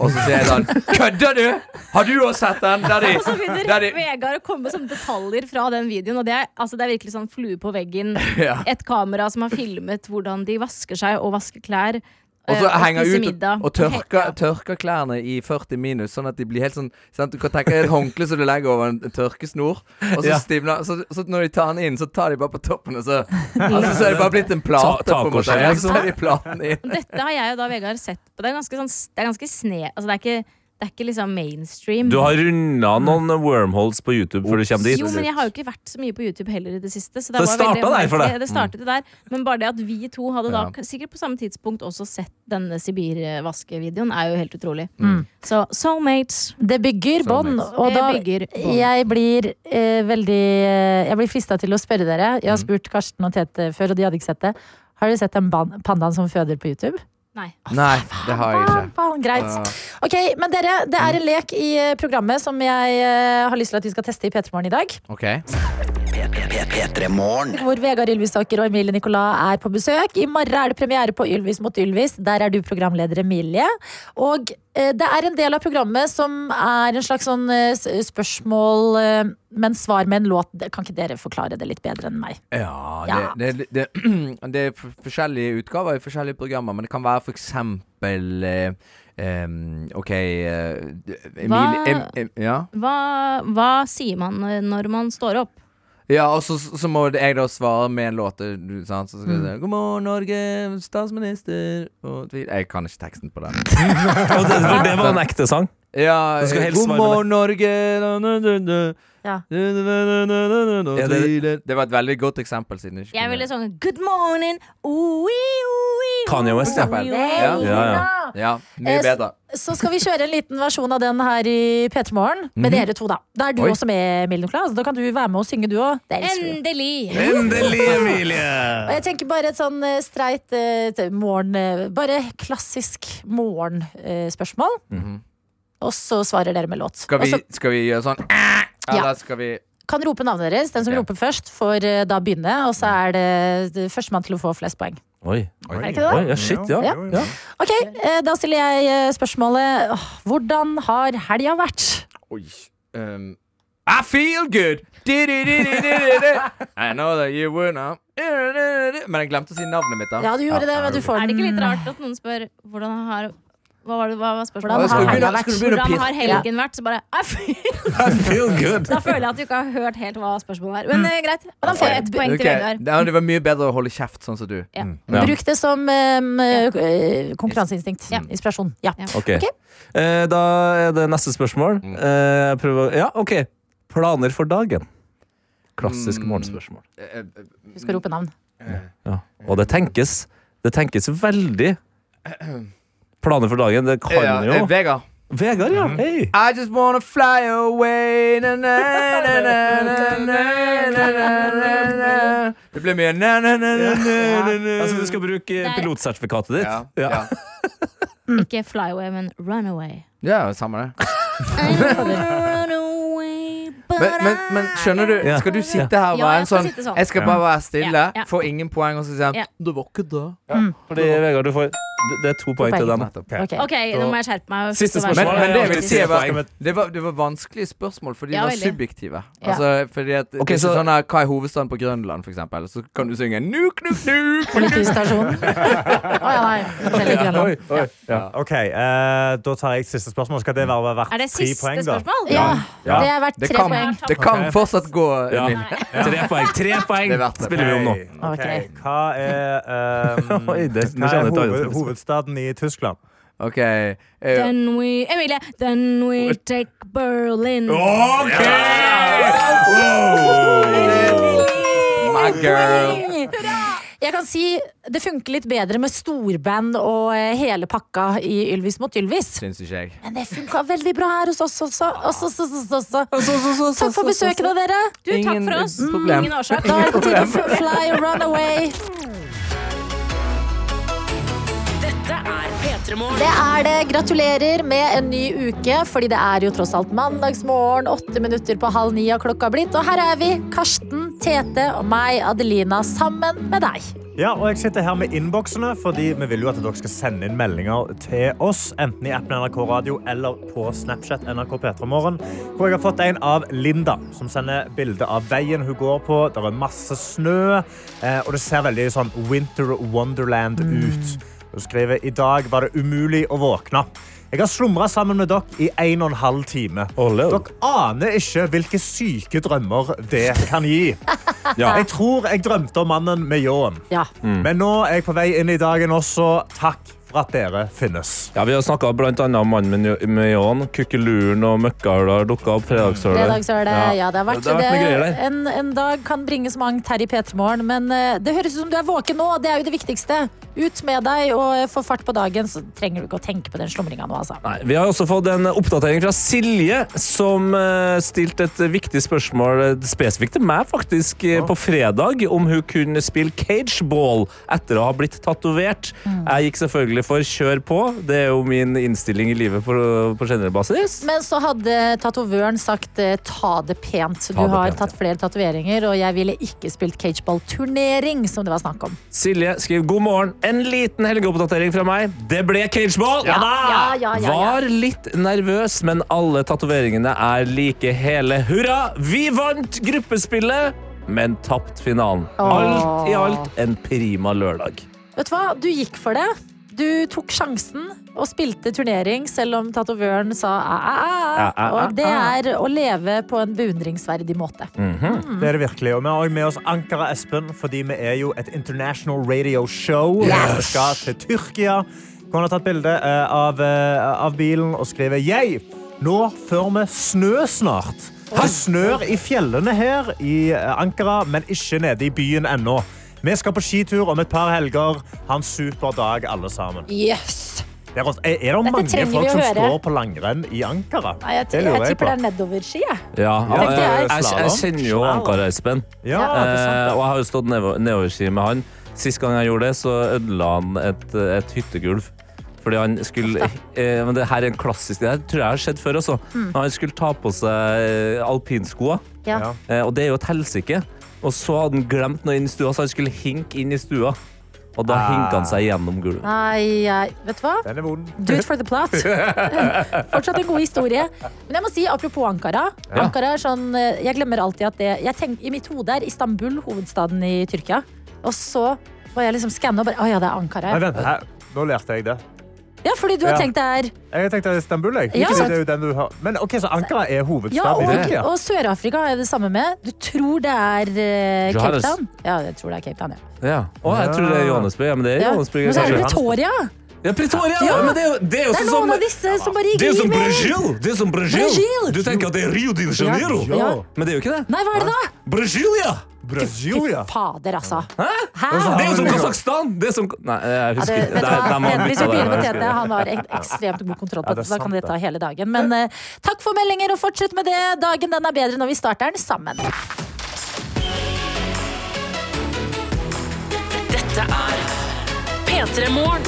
Og så sier jeg sånn Kødder du?! Har du også sett den? Der de, Og så der begynner de Vegard å komme som detaljer fra den videoen. Og det er, altså, det er virkelig sånn flue på veggen. Ja. Et kamera som har filmet hvordan de vasker seg og vasker klær. Og eh, så henger spiser ut middag. og, og tørker, tørker klærne i 40 minus, sånn at de blir helt sånn sant? Du kan tenke deg et håndkle som du legger over en tørkesnor, og så Ja. stivner så, så når de tar den inn, så tar de bare på toppen, og så altså, Så er det bare blitt en plate, Ta- på en måte. tacoskjell, Ja, så tar de platen inn. Dette har jeg og da Vegard sett på. Det er ganske, sånn, det er ganske sne... Altså, det er ikke, det er ikke liksom mainstream. Du har runda noen wormholes på YouTube før du kommer dit. Jo, men jeg har jo ikke vært så mye på YouTube heller i det siste. Så det, Det var starta veldig der for deg. Mm. merkelig. Det startet jo der. Men bare det at vi to hadde Ja. da sikkert på samme tidspunkt også sett denne Sibir-vaskevideoen, er jo helt utrolig. Mm. Så soulmates. Det bygger bånd, og Det da bygger bånd. jeg blir eh, veldig eh, Jeg blir frista til å spørre dere. Jeg Mm. har spurt Karsten og Tete før, og de hadde ikke sett det. Har dere sett den ban- pandaen som føder på YouTube? Nei. Nei, det har jeg ikke. Faen, greit. Ok, men dere, det er en lek i eh, programmet som jeg eh, har lyst til at vi skal teste i P3 Morgen i dag. OK. P3 Morgen. Hvor Vegard Ylvisaker og Emilie Nicolas er på besøk. I morgen er det premiere på Ylvis mot Ylvis. Der er du programleder, Emilie. Og eh, det er en del av programmet som er en slags sånn eh, s- spørsmål, eh, men svar med en låt. Det- Kan ikke dere forklare det litt bedre enn meg? Ja, det, det, det, det er f- forskjellige utgaver i forskjellige programmer, men det kan være for eksempel eh, em, OK eh, Emilie em, Hva- em, Ja? Hva, hva sier man eh, når man står opp? Ja, og så, så må jeg da svare med en låt. du- Sant? Så skal Mm. jeg si, God morgen, Norge, statsminister og tvil. Jeg kan ikke teksten på den. Og det, for det var en ekte sang. Ja, Du skal eh, helst God svare med morgen, Norge na, na, na, na, Ja. na, na, na, na, na, na, Ja, det- tviler. Det var et veldig godt eksempel. Siden jeg ikke Jeg kunne- ville sånn Good morning! Oi, oi, Kanye West, ja. Ja, Ja. ja. Ja, Eh, mye s- bedre. Så skal vi kjøre en liten versjon av den her i P3 Morgen. Med dere to, da. Da er du Oi. også med, Emilie Nicolas. Da kan du være med og synge, du òg. Det elsker vi. Endelig! Endelig, Emilie! Og jeg tenker bare et sånn eh, streit eh, t- morgen eh, Bare klassisk morgenspørsmål. Og så svarer dere med låt. Skal vi, Og så skal vi gjøre sånn? Eller skal vi kan rope navnet deres. Den som Ok. roper først, får eh, da begynne. Og så er det det førstemann til å få flest poeng. Oi. Er det ikke det? Oi, ja, shit, ja. Ja. ja. Ok, eh, da stiller jeg eh, spørsmålet åh, Hvordan har helga vært? Oi. Um, I feel good! Di-di-di-di-di-di-di. I know that you would not Men jeg glemte å si navnet mitt, da. Ja, du gjorde det, men du får Er det ikke den. litt Mm. rart at noen spør hvordan har hva var, det, hva var Hvordan spørsmålet? har Skulle du helga begynne- vært? skulle du begynne å Hvordan har pirke? helgen vært? Så bare I feel- I feel good. Da føler jeg at du ikke har hørt helt hva spørsmålet er. Men eh, greit. Da får jeg ett poeng Mm. Ok, til Vegard. det- Det var mye bedre å holde kjeft, sånn som du. Ja. Bruk det som em, eh, konkurranseinstinkt. Ja. Inspirasjon. Ja. Ok. Eh, da er det neste spørsmål. Eh, jeg prøver å- Ja, ok. Planer for dagen. Klassisk morgenspørsmål. Husk å rope navn. Ja. Og det tenkes. Det tenkes veldig. Planer for dagen, det kan Ja, jo eh, Vegard. Vegard, Mhm. ja. Hei. I just wanna fly away na, na, na, na, na, na, na, na, na. Det blir mye na, na, na, na, na, na, na. Altså, du skal bruke Nei. pilotsertifikatet ditt? Ja, Ja. ja. Mm. Ikke Flyway, men Runaway. ja, samme det. I wanna run away, but Men, men, men skjønner du, Ja. skal du sitte her og Ja, være jeg en skal sånn sitte sånn. Jeg skal bare være stille, Ja, ja. få ingen poeng, og så sier Ja. Mm. han Det var ikke det. Fordi, Vegard, du får Det- Det er to poeng til poeng. den. Ok. Ok, nå må jeg skjerpe meg. og Siste slutte Men, å være spørsmål. så- men det jeg vil si er Poeng. bare, det, var, det var vanskelige spørsmål, for de Ja, var veldig. subjektive. Ja. Altså, fordi at, det Ok, er ikke så- sånn her, Hva er hovedstaden på Grønland, for eksempel? Så kan du synge nuk, nuk, nuk. Politistasjonen. Å ja, nei. Hotellet i Grønland. Ok, eh, Da tar jeg siste spørsmål. Skal det være verdt Er det tre siste poeng, da? spørsmål? Ja, Ja. det er verdt Det tre kan, poeng. det kan fortsatt gå. Ja. Emil. Tre poeng. Tre poeng Det er verdt det. spiller vi om nå. Ok, Ok. Hva er, ehm, Oi, det- nå hva kjenner er jeg hoved, tagen. hovedstaden i Tyskland? OK. eh, Then we Emilie, then we take Berlin. OK! my girl. Jeg kan si det funker litt bedre med storband og eh, hele pakka i Ylvis mot Ylvis. Syns ikke jeg. Men det funka veldig bra her hos oss også. også, også, også, også. Takk for besøket, da, dere. Du, takk Ingen for oss. problem. Ingen årsak. Da er det på tide å fly og run away. Dette er P3morgen. Det er det. Gratulerer med en ny uke, fordi det er jo tross alt mandagsmorgen. Åtte minutter på halv ni har klokka blitt, og her er vi, Karsten, Tete og meg, Adelina, sammen med deg. Ja, og jeg sitter her med innboksene, fordi vi vil jo at dere skal sende inn meldinger til oss, enten i appen NRK Radio eller på Snapchat NRK P3morgen, hvor jeg har fått en av Linda, som sender bilde av veien hun går på. Det er masse snø, eh, og det ser veldig sånn Winter Wonderland ut. Hun skriver i dag var det umulig å våkne. Jeg har slumra sammen med dere i en og en halv time. Dere aner ikke hvilke syke drømmer det kan gi. Jeg tror jeg drømte om mannen med ljåen. Ja. Men nå er jeg på vei inn i dagen også. Takk for at dere finnes. Ja, Vi har snakka bl.a. om mannen med meon, kukkeluren og møkkahøla har dukka opp. Fredagshølet. Fredagssølet. Ja. ja, det har vært Det har vært noe greier der. En, en dag kan bringe så mangt her i P3morgen, men eh, det høres ut som du er våken nå. Det er jo det viktigste. Ut med deg og eh, få fart på dagen, så trenger du ikke å tenke på den slumringa nå, altså. Nei, vi har også fått en oppdatering fra Silje, som eh, stilte et viktig spørsmål eh, spesifikt til meg faktisk eh, på fredag, om hun kunne spille cageball etter å ha blitt tatovert. Jeg gikk selvfølgelig for kjør på. Det er jo min innstilling i livet på, på generell basis. Men så hadde tatovøren sagt eh, ta det pent. Du det har pent, tatt flere tatoveringer, og jeg ville ikke spilt cageball-turnering, som det var snakk om. Silje skriver god morgen. En liten helgeoppdatering fra meg. Det ble cageball! Ja da! Ja, ja, ja, ja. Var litt nervøs, men alle tatoveringene er like hele. Hurra! Vi vant gruppespillet, men tapt finalen. Alt i alt en prima lørdag. Vet du hva? Du gikk for det. Du tok sjansen og spilte turnering, selv om tatovøren sa æ-æ-æ. Æ, æ, æ, Og det er å leve på en beundringsverdig måte. Det er det virkelig. Og vi har også med oss Ankara Espen, fordi vi er jo et international radio show. Vi skal til Tyrkia. Hun har tatt bilde eh, av, eh, av bilen og skriver Jeg, nå før vi snø snart. Det snør i fjellene her i eh, Ankara, men ikke nede i byen ennå. Vi skal på skitur om et par helger. Ha en super dag, alle sammen. Yes! Det er, er det mange trenger vi folk å som høre. står på langrenn i Ankara? Nei, jeg, Det jeg, lurer jeg tipper det på. er nedoverski. jeg. Ja, jeg, Tenkte jeg. jeg, jeg kjenner jo Ankar Espen, Ja, eh, det er sant. og jeg har jo stått nedover- nedoverski med han. Sist gang jeg gjorde det, så ødela han et, et hyttegulv. Fordi han skulle eh, men det her er en klassisk Det her tror jeg har skjedd før også. Mm. Han skulle ta på seg eh, alpinskoa. Ja. Eh, Og det er jo et helsike. Og så hadde han glemt noe inn i stua, så han skulle hinke inn i stua. Og da hinka han seg gjennom Ah. gulvet. Nei, jeg- vet du hva? Den er vond. Do it for the plot. Fortsatt en god historie. Men jeg må si, apropos Ankara. Ja. Ankara er sånn, eh, jeg glemmer alltid at det jeg tenk, I mitt hode er Istanbul hovedstaden i Tyrkia. Og så var jeg liksom skanna og bare Å ja, det er Ankara. Nei, vent, hæ? Nå lærte jeg det. Ja, fordi du har Ja. tenkt det er Jeg tenkte Istanbul. Jeg. Ja. Fordi Det er jo den du har. Men ok, Så Ankara er Ja, hovedstaden i og, Tyrkia? og Sør-Afrika er det samme med. Du tror det er eh, Cape Johannes. Town. Ja, jeg tror det er Cape Town, ja. Ja. Å, jeg tror det er Johannesburg. Ja, men det er ja. Men Johannesburg. så er det kanskje. Pretoria! Ja, Pretoria! Ja. Men det er jo, det er jo Det er noen sånn som av disse som bare ikke Det er gir jo som mer. Brasil! Det er som Brasil. Brasil! Du tenker at det er Rio de Janeiro, Ja. Ja. men det er jo ikke det. Nei, hva er det da? Brasilia! Brasilia! Fader, altså. Hæ? Det er jo som Kasakhstan! Det er som Nei, jeg Ja, det, husker vet ikke. du hva, De- de har Tete, Hvis vi begynner byttet med det. Tete, han har ek- ekstremt god kontroll på Ja, dette. det er så Da kan sant, det ta det. hele dagen. Men eh, takk for meldinger, og fortsett med det. Dagen den er bedre når vi starter den sammen. Dette er P3 Morgen.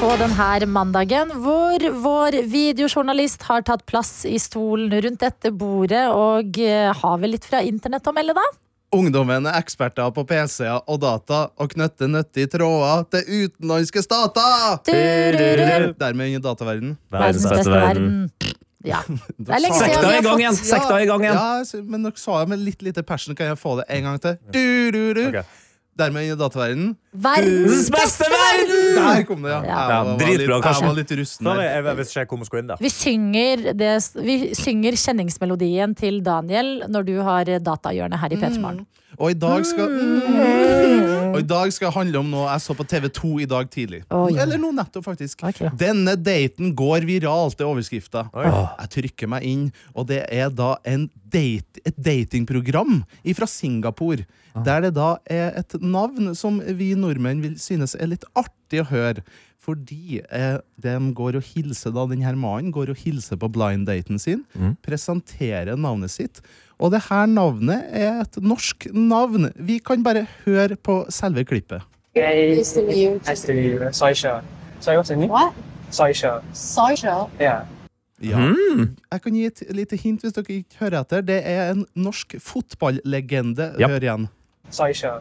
På denne mandagen hvor vår videojournalist har tatt plass i stolen rundt dette bordet og eh, har vel litt fra internett å melde, da? Ungdommen er eksperter på PC-er og data og knytter nyttige tråder til utenlandske stater! Du-du-du-du. Dermed inn i dataverden. Verdens beste verden. Ja. Det er lenge siden Sekta vi i har gang fått igjen! Sekta i gang igjen! Ja, s- men dere sa jeg med litt lite passion. Kan jeg få det en gang til? Du-du-du. Ok. Dermed inn i dataverden. verdens beste verden! Der kom det, ja. Ja, Jeg var, dritbra, litt, Karsten. Sånn, jeg var litt rusten Sorry, der. jeg jeg visste ikke hvor vi skulle inn der. Vi synger, det, vi synger kjenningsmelodien til Daniel når du har datahjørnet her i Petermorgen. Mm. Og i dag skal Mm. Og i dag skal handle om noe jeg så på TV2 i dag tidlig. Å, ja. Eller nå nettopp, faktisk. Ok. Denne daten går viralt, er overskrifta. Oi. Jeg trykker meg inn, og det er da en date, et datingprogram fra Singapore. Der det da er et navn som vi nordmenn vil synes er litt artig å høre. Fordi eh, de går og hilser da den her mannen går og hilser på blind-daten sin, presenterer navnet sitt. Og det her navnet er et norsk navn. Vi kan bare høre på selve klippet. Hey, nice to meet you. Nice to meet you. Soysha. Sorry, what's your name? What? Soysha. Soysha? Yeah. Ja. Hmm. Jeg kan gi et lite hint hvis dere ikke hører etter. Det er en norsk fotballegende. Ja. Hør igjen. Soysha.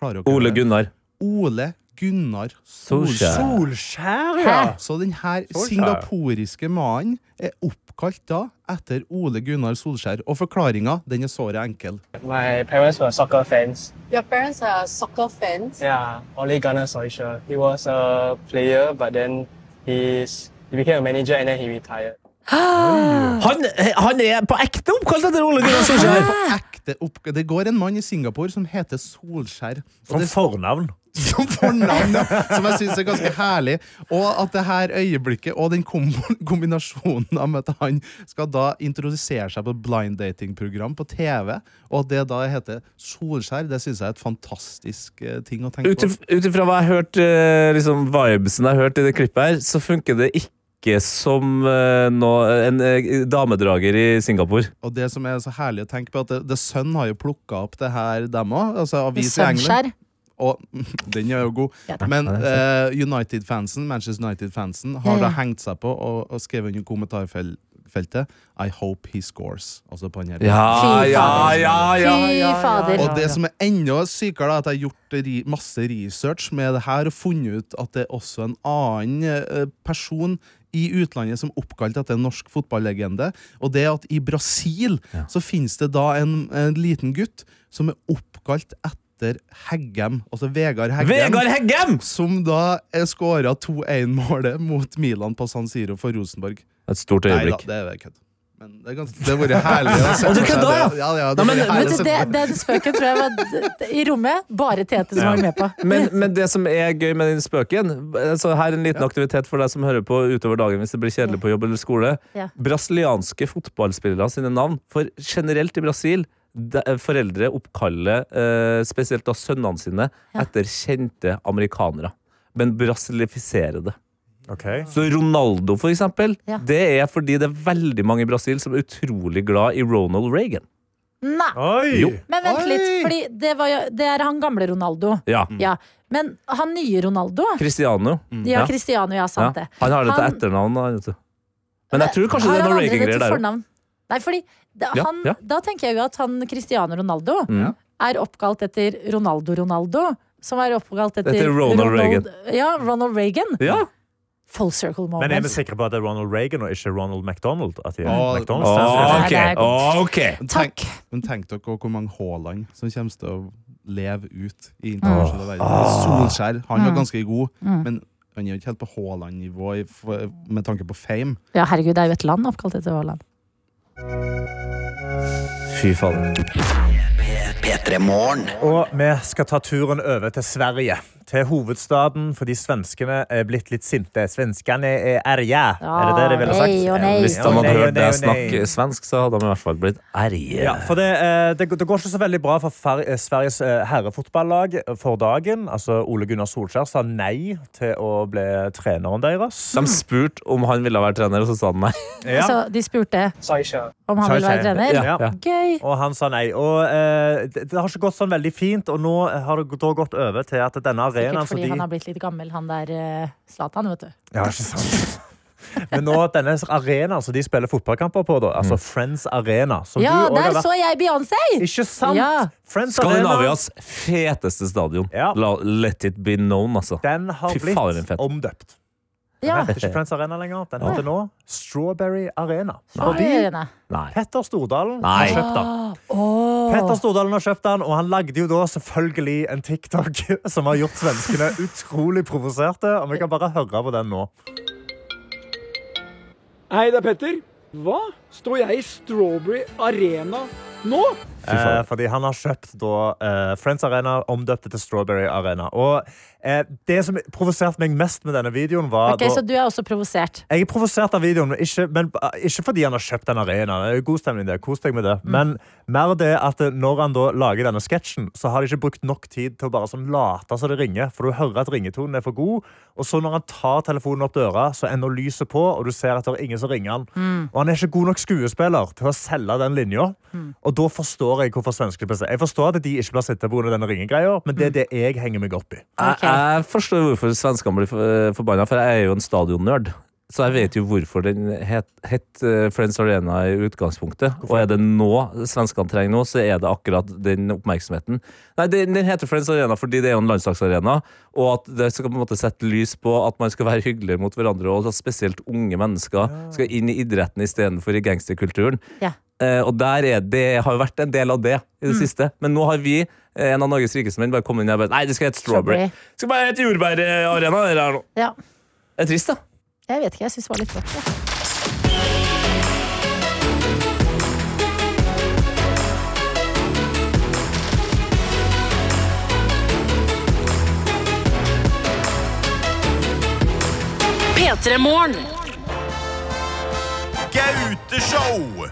Klarer dere Ole det? Gunnar. Ole Gunnar Solskjær. Solskjær, ja! Så den her Solskjær. singaporiske mannen er oppkalt da etter Ole Gunnar Solskjær. Og forklaringa den er såre enkel. My parents were soccer fans. Your parents are soccer fans. Yeah, Ole Gunnar Solskjaer. He was a player, but then he's, he became a manager and then he retired. Han, han er på ekte oppkalt etter Ole Gunnar Det, er Solskjær! på ekte oppk- det går en mann i Singapore som heter Solskjær. Og Som det fornavn. som fornavn, ja, som jeg syns er ganske herlig. Og at det her øyeblikket og den kom kombinasjonen av at han skal da introdusere seg på et blind dating-program på TV, og at det da heter Solskjær, det syns jeg er et fantastisk eh, ting å tenke Ut på. ifra hva jeg har hørt, eh, liksom vibesen jeg har hørt i det klippet her, så funker det ikke som eh, nå- en eh, damedrager i Singapore. Og det som er så herlig å tenke på, at The Sun har jo plukka opp det her, dem òg. Altså avis i England. Sønnskjær. Og den er jo god. Ja, takk. Men eh, United-fansen, Manchester United-fansen Ja, har ja. da hengt seg på og, og skrevet under kommentarfeltet I hope he scores. Altså på den her. Ja, Fy ja, fader. ja, Fy ja, ja, ja. fader. Og det som er enda sykere, da, at jeg har gjort ri masse research med det her og funnet ut at det er også en annen eh, person i utlandet som oppkalt etter en norsk fotballegende. Og det er at i Brasil så finnes det da en, en liten gutt som er oppkalt etter Heggem, altså Vegard Heggem. Vegard Heggem! Som da skåra 2-1-målet mot Milan på San Siro for Rosenborg. Et stort Nei da, øyeblikk. det er kødd. Men det er ganske- det har vært herlig å se Og du for seg kødda, ja? det. Ja, ja, Nei, det har men- vært Vet herlig du, å se det, for seg. den spøken tror jeg var d- d- i rommet. Bare Tete som var med på. Men, men det som er gøy med den spøken eh, Så her er en liten aktivitet for deg som hører på utover dagen hvis det blir kjedelig på jobb eller skole. Ja. Brasilianske fotballspillere sine navn. For generelt i Brasil de, eh, foreldre oppkaller eh, spesielt da sønnene sine etter kjente amerikanere. Men brasilifiserer det. Ok. Så Ronaldo, for eksempel, Ja. det er fordi det er veldig mange i Brasil som er utrolig glad i Ronald Reagan. Nei, Oi! Jo. men vent Oi. litt. Fordi det, var, jo- det er han gamle Ronaldo. Ja. Ja. Men han nye Ronaldo? Cristiano. Ja, Ja. Cristiano, ja, Ja. sant det. Han har det til Han- etternavn. da, vet du. Men jeg tror kanskje det Har er han noe aldri det Reagan-greier til der òg. fornavn? Nei, fordi det, Ja, han, ja. Da tenker jeg jo at han Cristiano Ronaldo Mm. er oppkalt etter Ronaldo Ronaldo. Som er oppkalt etter, Etter Ronald Ja, Ronald Reagan. Ja. Full circle moment. Men er vi sikre på at det er Ronald Reagan og ikke Ronald McDonald? At de er Å, McDonald's? Nei, det er Ah, godt. ok. Men tenk- Takk. Men tenk dere også hvor mange Haaland som kommer til å leve ut Ah. i internasjonal verden. Solskjær, han Mm. var ganske god, Mm. men han er jo ikke helt på Haaland-nivå i- for- med tanke på fame. Ja, herregud, det er jo et land oppkalt etter Haaland. Fy fader. P3 Morgen. Og vi skal ta turen over til Sverige. til hovedstaden fordi svenskene er blitt litt sinte. Svenskene er erja, er det det de ville sagt? nei og nei. Hvis Ja, de nei, hadde og nei, hørt deg og nei. snakke svensk, så hadde de i hvert fall blitt erje. Ja, for det, eh, det, det går ikke så veldig bra for fer, eh, Sveriges eh, herrefotballag for dagen. Altså, Ole Gunnar Solskjær sa nei til å bli treneren deres. De spurte om han ville være trener, og så sa han nei. Altså, de spurte om han ville være trener. Ja. Gøy. Og han sa nei. Og eh, det, det har ikke gått sånn veldig fint, og nå har det da gått over til at denne arenaen Sikkert som fordi de han har blitt litt gammel, han der eh, Zlatan, vet du. Ja, ikke sant? Men nå denne arenaen som de spiller fotballkamper på, da, Mm. altså Friends Arena som Ja, du også har der vært- så jeg Beyoncé! Ikke sant? Ja. Friends Arena Skandinavias feteste stadion. La, let it be known, altså. den har Fy fader, den blitt fett. omdøpt. Den Ja. heter ikke Friends Arena lenger. Den Nei. heter nå Strawberry Arena. Fordi Fordi Nei. Nei. Petter Stordalen Nei. har kjøpt den. Petter Stordalen har kjøpt den, og han lagde jo da selvfølgelig en TikTok som har gjort svenskene utrolig provoserte. Og vi kan bare høre på den nå. Hei, det er Petter. Hva? Står jeg i Strawberry Arena nå? Eh, fordi han har kjøpt da, eh, Friends Arena omdøpt til Strawberry Arena. Og eh, Det som provoserte meg mest med denne videoen, var Ok, da- Så du er også provosert? Jeg er provosert av videoen, men ikke, men eh, ikke fordi han har kjøpt den arenaen. Det er jo God stemning der, kos deg med det. Men mer det at eh, når han da lager denne sketsjen, så har de ikke brukt nok tid til å bare sånn late som det ringer, for du hører at ringetonen er for god. Og så når han tar telefonen opp døra, så ender lyset på, og du ser at det er ingen som ringer han. Mm. Og han er ikke god nok skuespiller til å selge den linja. Og da forstår jeg hvorfor svenskene blir sint. Jeg forstår at de ikke blir sinte pga. denne ringegreia, men det er det jeg henger meg opp i. Jeg, jeg forstår hvorfor svenskene blir for- forbanna, for jeg er jo en stadionnerd. Så jeg vet jo hvorfor den het, het eh, Friends Arena i utgangspunktet. Og er det nå svenskene trenger nå, så er det akkurat den oppmerksomheten. Nei, den, den heter Friends Arena fordi det er jo en landslagsarena, og at det skal på en måte sette lys på at man skal være hyggelig mot hverandre, og at spesielt unge mennesker skal inn i idretten istedenfor i gangsterkulturen. Ja. Eh, og der er det har jo vært en del av det i det siste. Men nå har vi, eh, en av Norges rikeste menn, bare kommet inn og bare Nei, det skal hete Strawberry. Strawberry. Det skal bare hete Jordbærarena. Det der nå. Ja. Det er trist, da. Jeg vet ikke. Jeg syns det var litt flott. Ja. P3 Morgen. Gauteshow!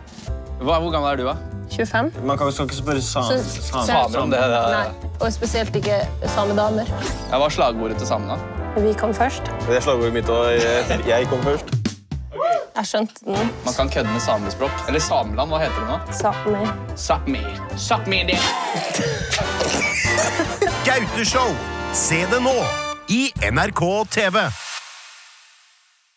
hvor gammel er du, da? 25. Man kan, skal ikke spørre Så- så- eh. Nei, og spesielt ikke samedamer. Jeg var slagordet til samene. Vi kom først. Det er slagordet mitt, og jeg, kom først. Jeg skjønte den. Man kan kødde med samespråk. Eller Sameland, hva heter det nå? Sami. Sápmi. Sápmi det. Gauteshow. Se det nå i NRK TV.